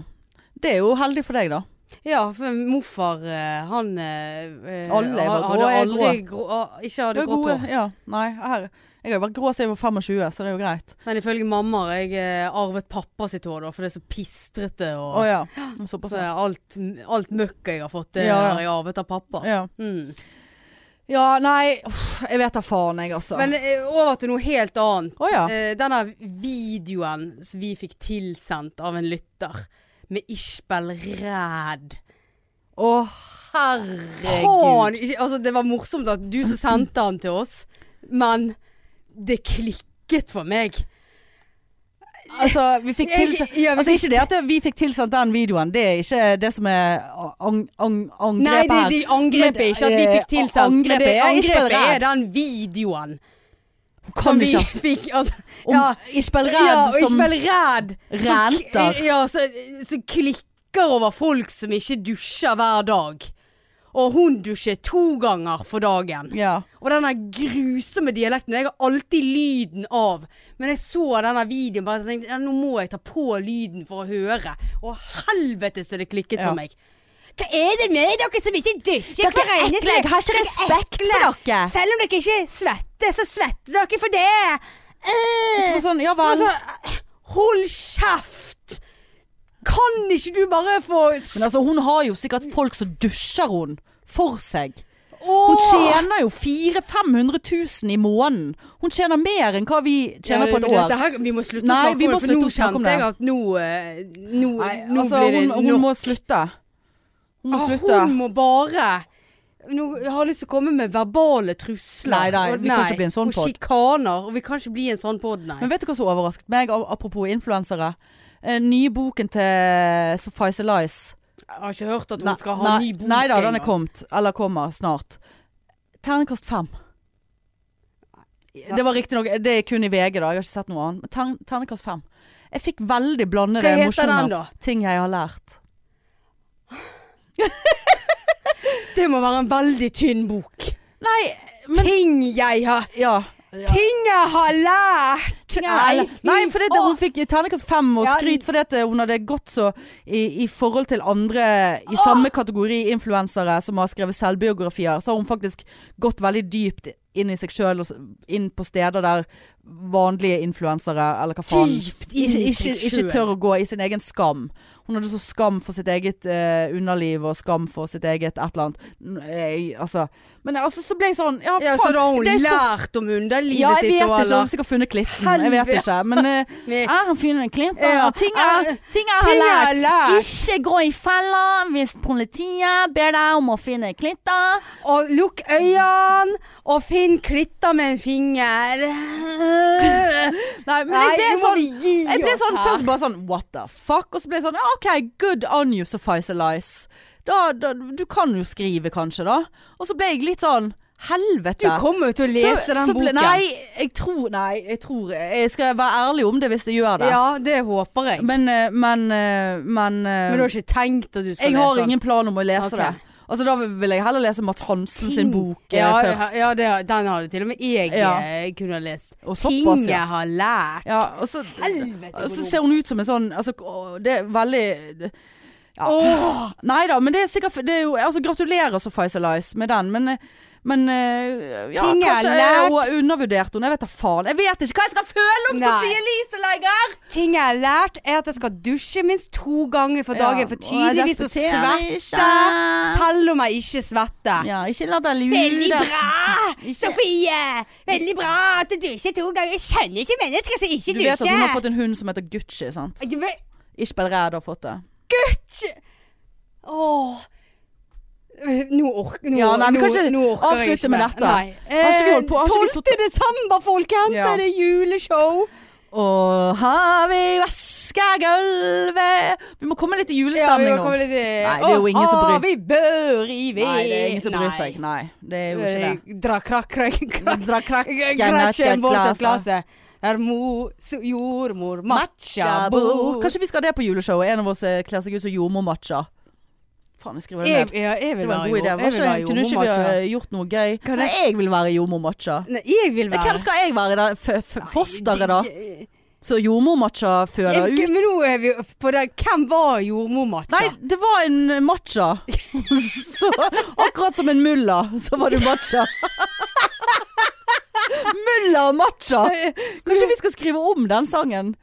Det er jo heldig for deg, da.
Ja, for morfar, eh, han eh,
Alle
eh,
var
hadde
grå, er
aldri grå, ah, ikke
Det er
hadde grått
gode-
hår.
Ja, nei, her. Jeg har jo vært grå siden jeg var 25, så det er jo greit.
Men ifølge mamma har jeg eh, arvet pappa sitt hår, da, for det er så pistrete. Og,
Å ja.
Og
Såpass.
Så er alt, alt møkket jeg har fått, det
Ja, ja.
har jeg arvet av pappa.
Ja.
Mm.
ja, nei uff, Jeg vet da faen, jeg, altså.
Men eh, over til noe helt annet.
Å, ja.
Eh, Denne videoen som vi fikk tilsendt av en lytter, med Ishbel Ræd.
Å,
Faen!
herregud.
ikke- Altså, det var morsomt at du som sendte den til oss, men det klikket for meg.
Altså, vi fikk tilsendt
Jeg- ja, vi
Altså, ikke det at vi fikk tilsendt den videoen, det er ikke det som er ang ang angrepet
Nei, de,
her.
de angrep
Men,
ikke at vi
eh,
fikk tilsendt, men det
angrepet er Ishbel
angrepet
Ræd.
er den videoen
Kan
som
du
vi
ikke
fikk. Altså,
Om
ja.
Ishbel
ja,
Red
og
som
ikke vel ræd.
Renter.
Så, ja, så, så klikker over folk som ikke dusjer hver dag. Og hun dusjer to ganger for dagen.
Ja.
Og denne grusomme dialekten. og Jeg har alltid lyden av. Men jeg så denne videoen bare og tenkte ja, nå må jeg ta på lyden for å høre. Og helvete så det klikket
Ja.
for meg. Hva er det med dere som ikke dusjer
Dere er ekle, jeg har ikke
Dere er
respekt for
ekle.
dere.
Selv om dere ikke svetter, så svetter dere for det. Øh.
Så Sånn, ja
Så
vel.
altså, hold kjeft! Kan ikke du bare få
Men altså, hun har jo sikkert folk som dusjer hun for seg. Hun
Hun
tjener jo 400 500 000 i måneden. Hun tjener mer enn hva vi tjener på et år.
vi må slutte
Nei,
å
vi må
snakke om det, for
slutte
nå
å snakke om
kjente jeg
det.
at nå eh, Nå,
Nei,
nå
altså,
blir det
hun, hun
nok.
må slutte. Hun må
Ah,
slutte.
Hun må bare Nå har jeg lyst til å komme med verbale trusler.
Nei, nei,
og-
vi kan ikke bli en sånn
Og
podd.
sjikaner. Og vi kan ikke bli en sånn pod, nei.
Men vet du hva som overrasket meg, av- apropos influensere? Eh, nye boken til Sophice Elice.
Jeg har ikke hørt at hun
Nei,
skal ha
nei,
ny bok
nei da, den er
engang.
kommet. Eller kommer snart. Ternekast fem. Det var riktignok Det er kun i VG, da. Jeg har ikke sett noe annet. Men tern, ternekast fem. Jeg fikk veldig blandede
Hva heter den,
emosjoner.
da?
Ting jeg har lært.
Det må være en veldig tynn bok.
Nei, men
Ting jeg har
Ja.
Ting jeg har lært!
Nei,
fy
nei for det,
faen.
hun fikk ternekast fem og
Ja,
skryt fordi at eh, hun hadde gått så i, i forhold til andre i
Åh!
samme kategori influensere som har skrevet selvbiografier, så har hun faktisk gått veldig dypt inn i seg sjøl og s- inn på steder der vanlige influensere, eller hva faen
Dypt inn
ikke,
i
ikke,
seg
ikke
selv.
tør å gå i sin egen skam. Hun hadde så skam for sitt eget eh, underliv og skam for sitt eget et eller annet. N- Jeg, altså. Men altså, så ble jeg sånn Ja,
Ja, så
faen.
da har hun
det er så-
lært om underlivet
ja, jeg
sitt
vet
og
ikke. Hun har
eller
sikkert funnet klitten. Jeg vet
Helvete.
ikke. Men eh,
Med-
er han fyren en klint? da?
Ja.
Ting er,
Er-
ting er
Ting jeg har
halal.
lært!
Ikke gå i fella hvis politiet ber deg om å finne klitta.
Og lukk øynene, og finn klitter med en finger.
Nei, men
Nei,
jeg ble
nå må
sånn
vi gi
Jeg ble
oss
sånn
her.
først bare sånn what the fuck? Og så ble jeg sånn ja, OK, good on you, Suffice Alice. Da, da, du kan jo skrive, kanskje, da. Og så ble jeg litt sånn helvete.
Du kommer jo til å lese
Så-
den
så ble-
boken.
Nei, jeg tror Nei, jeg tror Jeg skal være ærlig om det hvis jeg gjør det.
Ja, det håper jeg. Men,
Men, eh, men, eh, men, eh,
du har ikke tenkt at du skal
jeg
lese
har
den?
ingen plan om å lese
Ok.
det. Altså Da vil jeg heller lese Mats Hansen sin bok eh,
ja,
først.
Ja, det, har- den hadde til og med jeg
Ja.
eh, kunne ha lest.
Og såpass,
Ting
ja.
jeg har lært.
Ja, og så,
Helvete,
og så
hvor
ser hun ut som en sånn altså, å, Det er veldig det- ja.
Åh!
Nei da, men det er sikkert det er jo, altså, Gratulerer så Faisal Lice med den, men, men eh, ja,
Ting jeg
kanskje
har lært.
hun har undervurdert henne. Jeg vet da faen. Jeg vet ikke hva jeg skal føle om
Nei.
Sofie Elise lenger!
Ting jeg har lært er at jeg skal dusje minst to ganger for dagen.
Ja,
For
og jeg
tydeligvis så
respekterer ikke.
svetter jeg, selv om jeg ikke svetter.
Ja, ikke la deg
Veldig
lure.
bra,
Ikke-
Sofie! Veldig bra at du dusjer to ganger. Jeg skjønner ikke mennesker som ikke
Du vet at hun har
dusjer.
fått en hund som heter Gucci, sant?
Du vet-
Ishbel Ræd har fått det.
Gutt! Åh. Nå, ork, nå,
Ja, nei, vi
nå,
kan ikke
nå orker jeg
avslutte
ikke
med
mer.
dette.
Nei.
Har ikke vi holdt på- har ikke vi
12. desember, folkens,
Ja.
er det juleshow.
Og har vi vaska gulvet Vi må komme litt i julestemning nå.
Nei, det
Nei, det er jo ingen som bryr-
vi bør i ved.
Nei, det er ingen som bryr seg. Nei, det er jo ikke det.
Eh, Dra krakk, krakk, krakk.
Dra krakk,
Gretchen bort
gjennom
til glasset. Der mo, su- jordmor, matcha, bo.
Kanskje vi skal ha det på juleshowet? En av oss eh, kler seg ut som jordmor-matcha. Faen, jeg skriver det
jeg,
ned.
ja, jeg
Det
vil
var
være
en god idé. Var
jordmor. Jeg vil
ikke,
være
kunne ikke vi ha
jordmormatcha.
gjort noe gøy?
Kan
Nei, jeg vil være jordmor-matcha.
Nei, jeg vil være
Hvem skal jeg være? da? F- f- Fosteret, da? Så jordmor-matcha føder
Jeg,
ut?
men nå er vi på det. Hvem var jordmormatcha?
Nei, det var en matcha. så, akkurat som en mulla, så var du matcha. mulla og matcha. Kanskje vi skal skrive om den sangen?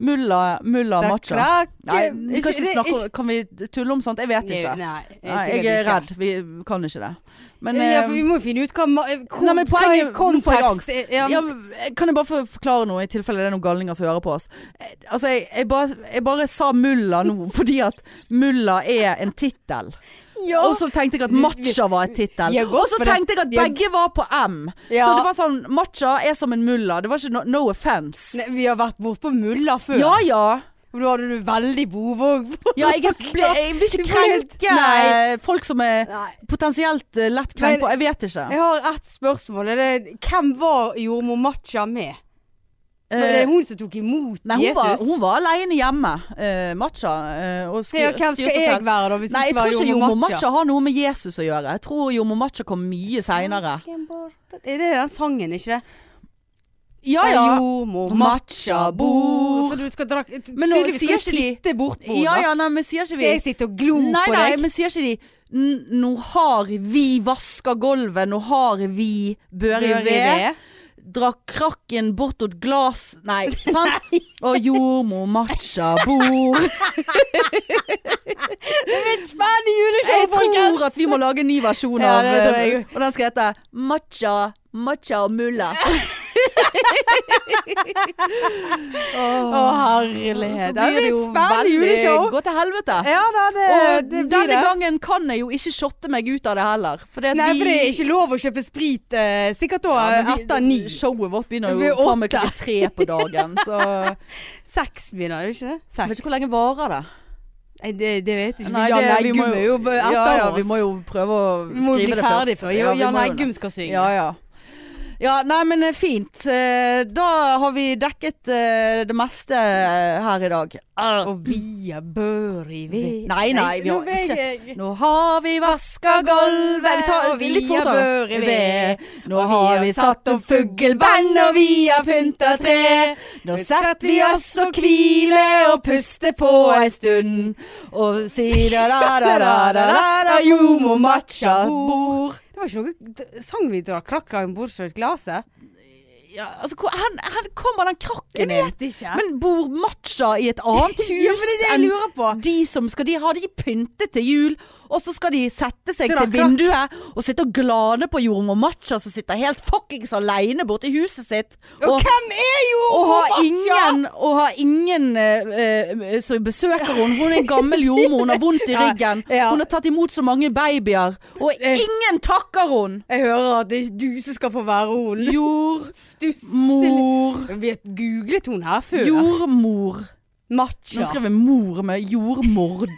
Mulla, mulla
Da
matcha.
krakk-
Nei, vi kan,
det
ikke
er
snakke, om- kan vi tulle om sånt? Jeg vet
Nei,
ikke.
Nei,
Nei,
sikkert
jeg er
ikke.
redd. Vi kan ikke det. Men,
ja, for
eh,
vi må jo finne ut hva ma- hvor,
Nei, men poenget-
hva
nå får jeg
kontekst er- ja,
ja, men, kan jeg bare få forklare noe, i tilfelle det er noen galninger som hører på oss? Eh, Altså, jeg, jeg, bare, jeg bare sa mulla nå, fordi at mulla er en tittel.
ja.
Og så tenkte jeg at matcha var et tittel.
Jeg er godt
Og så
for det.
tenkte jeg at
Jeg-
begge var på M. Så
Ja.
det var sånn, matcha er som en mulla. Det var ikke no, no offence.
Nei, Vi har vært bortpå mulla før.
Ja ja.
Da hadde du veldig bovåg.
ja jeg, er- ble, jeg vil ikke
Du ble helt-
krenke
Nei.
folk som er
Nei.
potensielt eh, lett
Men-
krenka. Jeg vet ikke.
Jeg har ett spørsmål. Er det, hvem var jordmor Matcha med?
Eh,
var det hun som tok imot
Nei, hun
Jesus?
var, hun var alene hjemme, eh, Matcha. eh, og skri-
ja, hvem
styrte
skal jeg
til-
være da, hvis
Nei, jeg tror
ikke var
ikke
jordmor
Jomo
Matcha?
Matcha har noe med Jesus å gjøre. Jeg tror Jomo Matcha kom mye seinere.
Er det den sangen, ikke det?
Ja
Der
ja.
Jordmor
Matcha
Matcha
bor.
bor. For du skal dra
Men nå
tydeligvis skal
sier
du
ikke
titte bort på
Ja
henne.
ja, nei, men sier ikke
Skal jeg
vi
sitte og glo
Nei,
på
nei,
deg?
men sier ikke de "N- Nå har vi vaska gulvet, nå har vi børi
Rør i
ved.
ved.
Dra krakken bortåt glass Nei, sant? Og jordmor Matcha bor.
Spennende juleshow,
Jeg tror at vi må lage en ny versjon
Ja,
av eh,
det tror jeg.
Og den skal hete Matcha, matcha og mulla.
Å,
Åh,
herlighet.
så
Det
blir
blir et spennende
veldig-
juleshow.
Gå til helvete.
Ja da, det,
Og
det blir
denne
det.
gangen kan jeg jo ikke shotte meg ut av det heller. For det, at
Nei,
vi,
for det er ikke lov å kjøpe sprit eh, sikkert da
Ja, men vi-
etter ni.
Showet vårt begynner jo
Ved
faen meg
åtte.
klokka tre på dagen. Så jeg
Seks begynner det, ikke det? Seks.
vet ikke hvor lenge varer det.
Nei, det, det vet jeg ikke.
Nei,
Jan
det- vi må
Eggum er jo etter
Ja, ja,
oss.
vi må jo prøve å
Vi må
skrive
bli
det
ferdig
først.
før.
Ja, vi
Jan
må jo det.
Eggum skal synge.
Ja, ja. Ja, nei, men eh, fint. Eh, Da har vi dekket eh, det meste eh, her i dag.
Og vi er bør i ved.
Nei, nei, vi
nå
har
vet
ikke-
jeg.
Nå har vi vaska gulvet Vi tar
Og vi
litt fort,
har
da.
børi ved.
Nå har vi satt opp fugleband, og vi har pynta tre. Nå setter vi oss og hvile og puster på ei stund. Og sier da-da-da-da-da, jomo matcha bord.
Det var ikke noe d- sang vi drar krakklagen bort fra et eh? glaset.
Ja, altså, hvor hen, hen kommer den krakken inn?
vet ikke.
Men bor matcha i et annet hus
ja, men det er det jeg lurer på.
enn de som skal de ha de pyntet til jul, og så skal de sette seg
Det er da
til vinduet og sitte og glane på jordmor matcha som sitter helt fuckings aleine borte i huset sitt.
Og, hvem er jo
og har
Matcha?
ingen, og har ingen eh, eh, som besøker henne. Hun er en gammel jordmor, hun har vondt i
Ja,
ryggen.
ja.
Hun har tatt imot så mange babyer, og
Eh.
ingen takker henne!
Jeg hører at det er du som skal få være hun.
Jord,
Stusselig.
mor,
Vi har googlet hun her før.
jordmor. Nå
Matcha.
skrev jeg mor med jordmord.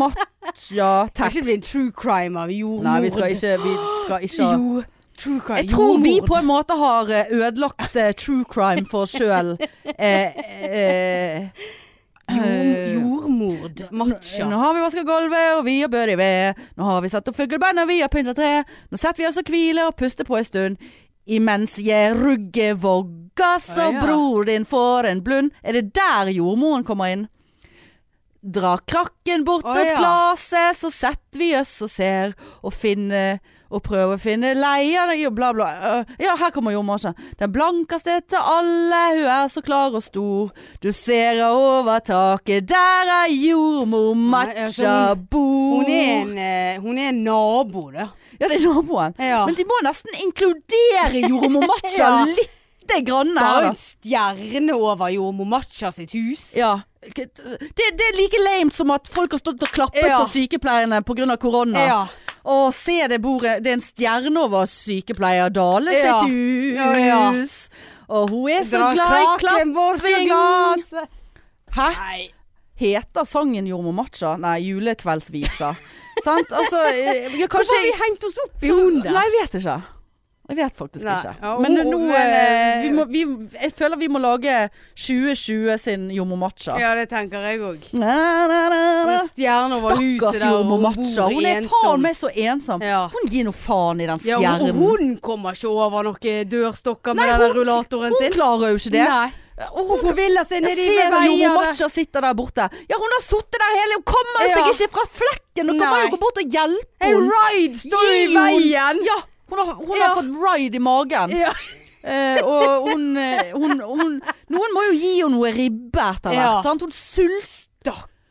Kan ikke
Matcha-tekst.
bli en true crime av jordmord.
Nei, vi skal ikke, vi skal ikke ha-
Jo, true crime.
Jeg tror vi
jordmord.
på en måte har eh, ødelagt eh, true crime for oss sjøl. Eh, eh, eh,
Jord, Jordmord. Matcha.
Nå har vi vaska gulvet, og vi har bødd i ved. Nå har vi satt opp fugleband, og vi har pynta tre. Nå setter vi oss og hviler og puster på en stund. Imens jeg rugger voggas,
Å,
og
ja.
bror din får en blund. Er det der jordmoren kommer inn? Dra krakken bortåt
Å, ja.
glaset, så setter vi oss og ser, og finner og prøver å finne leier i og bla bla. Øh, Ja, her kommer jordmoren. Den blankeste til alle, hun er så klar og stor. Du ser her over taket, der er jordmor
altså,
Matcha
hun-
bor.
Hun er en, eh, hun er en nabo, da.
Ja, det er naboen.
Ja.
Men de må nesten inkludere jordmor Matcha
Ja.
lite grann
Bare
her,
en
da.
stjerne over jordmor Matcha sitt hus.
Ja. Det, det er like lame som at folk har stått og klappet
Ja.
for sykepleierne pga. korona.
Ja.
Å, se det bordet. Det er en stjerne over sykepleier Dale sitt
Ja.
hus.
Ja, ja.
Og hun er så
Dra
glad i
kraken bort fra
klapping.
glasset.
Hæ?
Nei.
Heter sangen Jormor Matcha? Nei, julekveldsvisa. Sant? Altså, eh, ja,
Hvorfor
kanskje
har vi hengt oss opp i
Så-
hunden?
Nei, jeg vet ikke. Jeg vet faktisk
Nei.
ikke.
Ja,
Men
hun-
nå
men,
eh,
eh,
vi må, vi, Jeg føler vi må lage 2020 sin Jomo Matcha.
Ja, det tenker jeg òg.
Na, na, na, na.
Stjerne over huset
Stakkars
der, og
Jomo
hun
Matcha.
bor
Hun er
ensom.
faen meg så ensom.
Ja.
Hun gir nå faen i den
Ja, hun,
stjernen.
hun kommer ikke over noen dørstokker med
Nei,
den der
hun-
rullatoren
Hun
sin.
klarer jo ikke det.
Nei.
Og
Hun
hun
forviller seg
jeg
nedi
ser at
med
Jomo
veier.
Matcha sitter der borte. Ja, hun har sittet der hele Hun kommer
Ja.
seg ikke fra flekken! Dere må
Nei.
jo gå bort og hjelpe
En
henne.
ride står i
Gi henne-
veien!
Ja, hun har, hun
Ja.
har fått ride i magen.
Ja.
Eh, og hun, eh, hun, hun Noen må jo gi henne noe ribbe etter hvert.
Ja.
Sant? Hun sulter.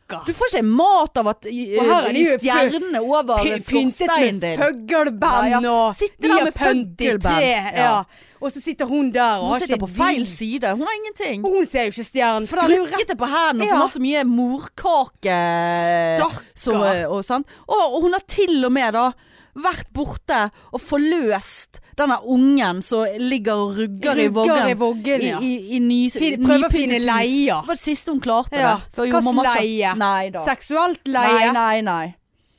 Du
Stakkar.
får ikke mat av at eh,
Og her er de jo
stjernene over
Py- Pyntet
skorsteinen
med
din.
føggelband
Ja, ja.
og
Sitter der med
diapantitre,
føggelband.
Ja.
Ja.
Og så sitter hun der og
Hun
har
sitter
ikke
på feil
drit.
side. Hun har ingenting.
Og Hun ser jo ikke stjernen, for den er jo rett
Rukkete på hendene og
Ja.
hun har så mye morkake. eh, som,
Stakkar.
og, sant? Og, og hun har til og med da vært borte og forløst denne ungen som ligger og rugger, i
Rugger i
vognen.
voggen,
I,
ja.
i, i ny,
Fin- prøver å
nypyntet
finne
hus.
leier.
Det var det siste hun klarte
Ja.
det. Før
Hva
jordmor
slags
Matcha-
leie?
Nei da.
Seksuelt
Nei,
leie.
nei, nei.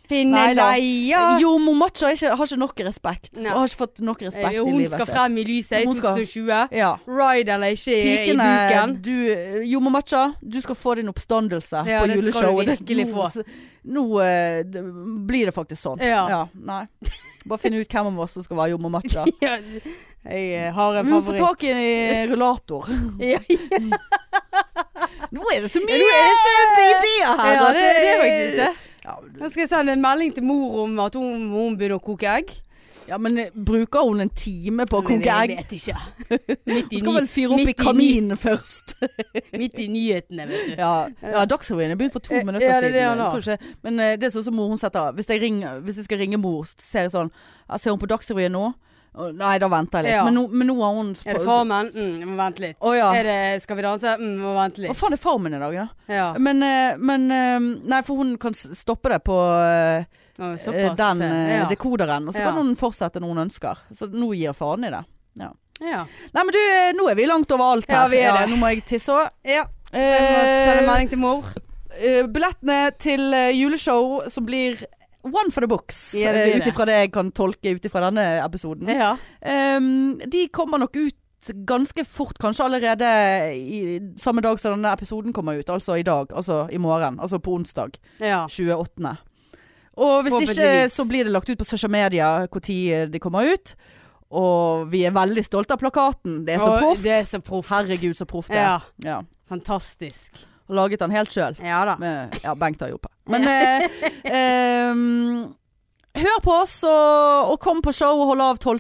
Finne
Nei da.
leie.
Jordmor Matcha er ikke, har ikke nok respekt.
Nei.
Og har ikke fått nok respekt
Eh,
i
Hun
livet
skal
sitt.
frem i lyset i
Hun skal-
2020.
Ja.
Ride eller ikke i- i
Pikene,
buken.
du, Jomma Matcha, du skal få din oppstandelse
Ja,
på
det skal du
juleshowet.
virkelig
Nå-
få.
Nå eh, det- blir det faktisk sånn.
Ja.
nei. Bare finne ut hvem av oss som skal være Jomma eh, Matcha.
Ja, jeg har
Vi
en eh,
må få
favoritt.
tak i en rullator.
Ja, ja.
Nå er det så mye
Ja, nå er det så mye
ideer her!
Ja,
at
det, det er faktisk det.
Ja,
Da skal jeg sende en melding til mor om at hun, hun begynner å koke egg.
ja, men eh, bruker hun en time på å koke
Men
egg?
Jeg vet ikke. Midt
Hun
i,
skal vel fyre opp i
midt i ny-
kaminen først.
ny- midt i nyhetene, vet du.
Ja, ja Dagsrevyen er begynt for to
Eh,
minutter
ja, det er
siden.
det han
Jeg
har.
tror ikke- Men eh, det er sånn som mor hun setter hvis jeg, ringer, hvis jeg skal ringe mor, så ser jeg sånn ja, Ser hun på Dagsrevyen nå? Å, Nei, da venter jeg litt.
Ja.
Men, nå, men nå har hun
Er det Farmen? Mm, jeg må vente litt.
Å ja.
Er det Skal vi danse? Mm, jeg må vente
Hva
litt.
faen er Farmen i dag, da?
Ja.
Men, eh, men eh, Nei, for hun kan s- stoppe det på eh,
Å,
eh,
Såpass.
den eh,
ja.
dekoderen, og så
Ja.
kan hun fortsette når hun ønsker. Så nå gir faen i det.
Ja.
Nei, men du, eh, nå er vi langt over alt her.
Ja, vi er det.
nå må jeg tisse Eh, òg.
ja. Jeg må sende en melding til mor.
Eh, billettene til eh, juleshow som blir One for the books,
Ja, det blir
eh, ut
det.
ifra det jeg kan tolke ut ifra denne episoden.
Ja.
Ehm, de kommer nok ut ganske fort, kanskje allerede i, samme dag som denne episoden kommer ut. Altså i dag, altså i morgen. Altså på onsdag
ja.
28. Og hvis ikke
Forhåpentligvis.
så blir det lagt ut på sosiale medier når de eh, kommer ut. Og vi er veldig stolte av plakaten. Det er så
Og
proft.
Det er så proft.
Herregud, så proft det er.
Ja.
Ja.
Fantastisk.
Laget den helt sjøl.
Ja da.
Med, ja, Bengt har hjulpet. Men eh, ehm, hør på oss, og, og kom på show og hold av 12.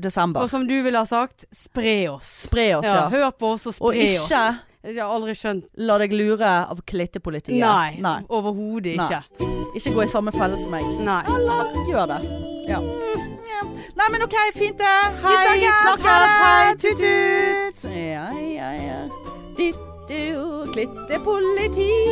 desember.
Og som du ville ha sagt, spre oss.
Spre oss,
Ja,
ja.
hør på oss og spre
Og ikke
oss. Jeg har aldri skjønt
la deg lure av klittepolitiet.
Nei, overhodet
Nei.
ikke.
Ikke gå i samme felle som meg.
Nei.
Eller gjør det. Ja. Ja. Nei, men OK, fint det. Hei,
snakkes. Ha
Hei,
det.
tut-tut. Ja, ja, ja. Ditto, klittepolitiet.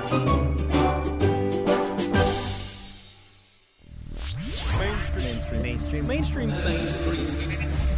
mainstream mainstream mainstream mainstream mainstream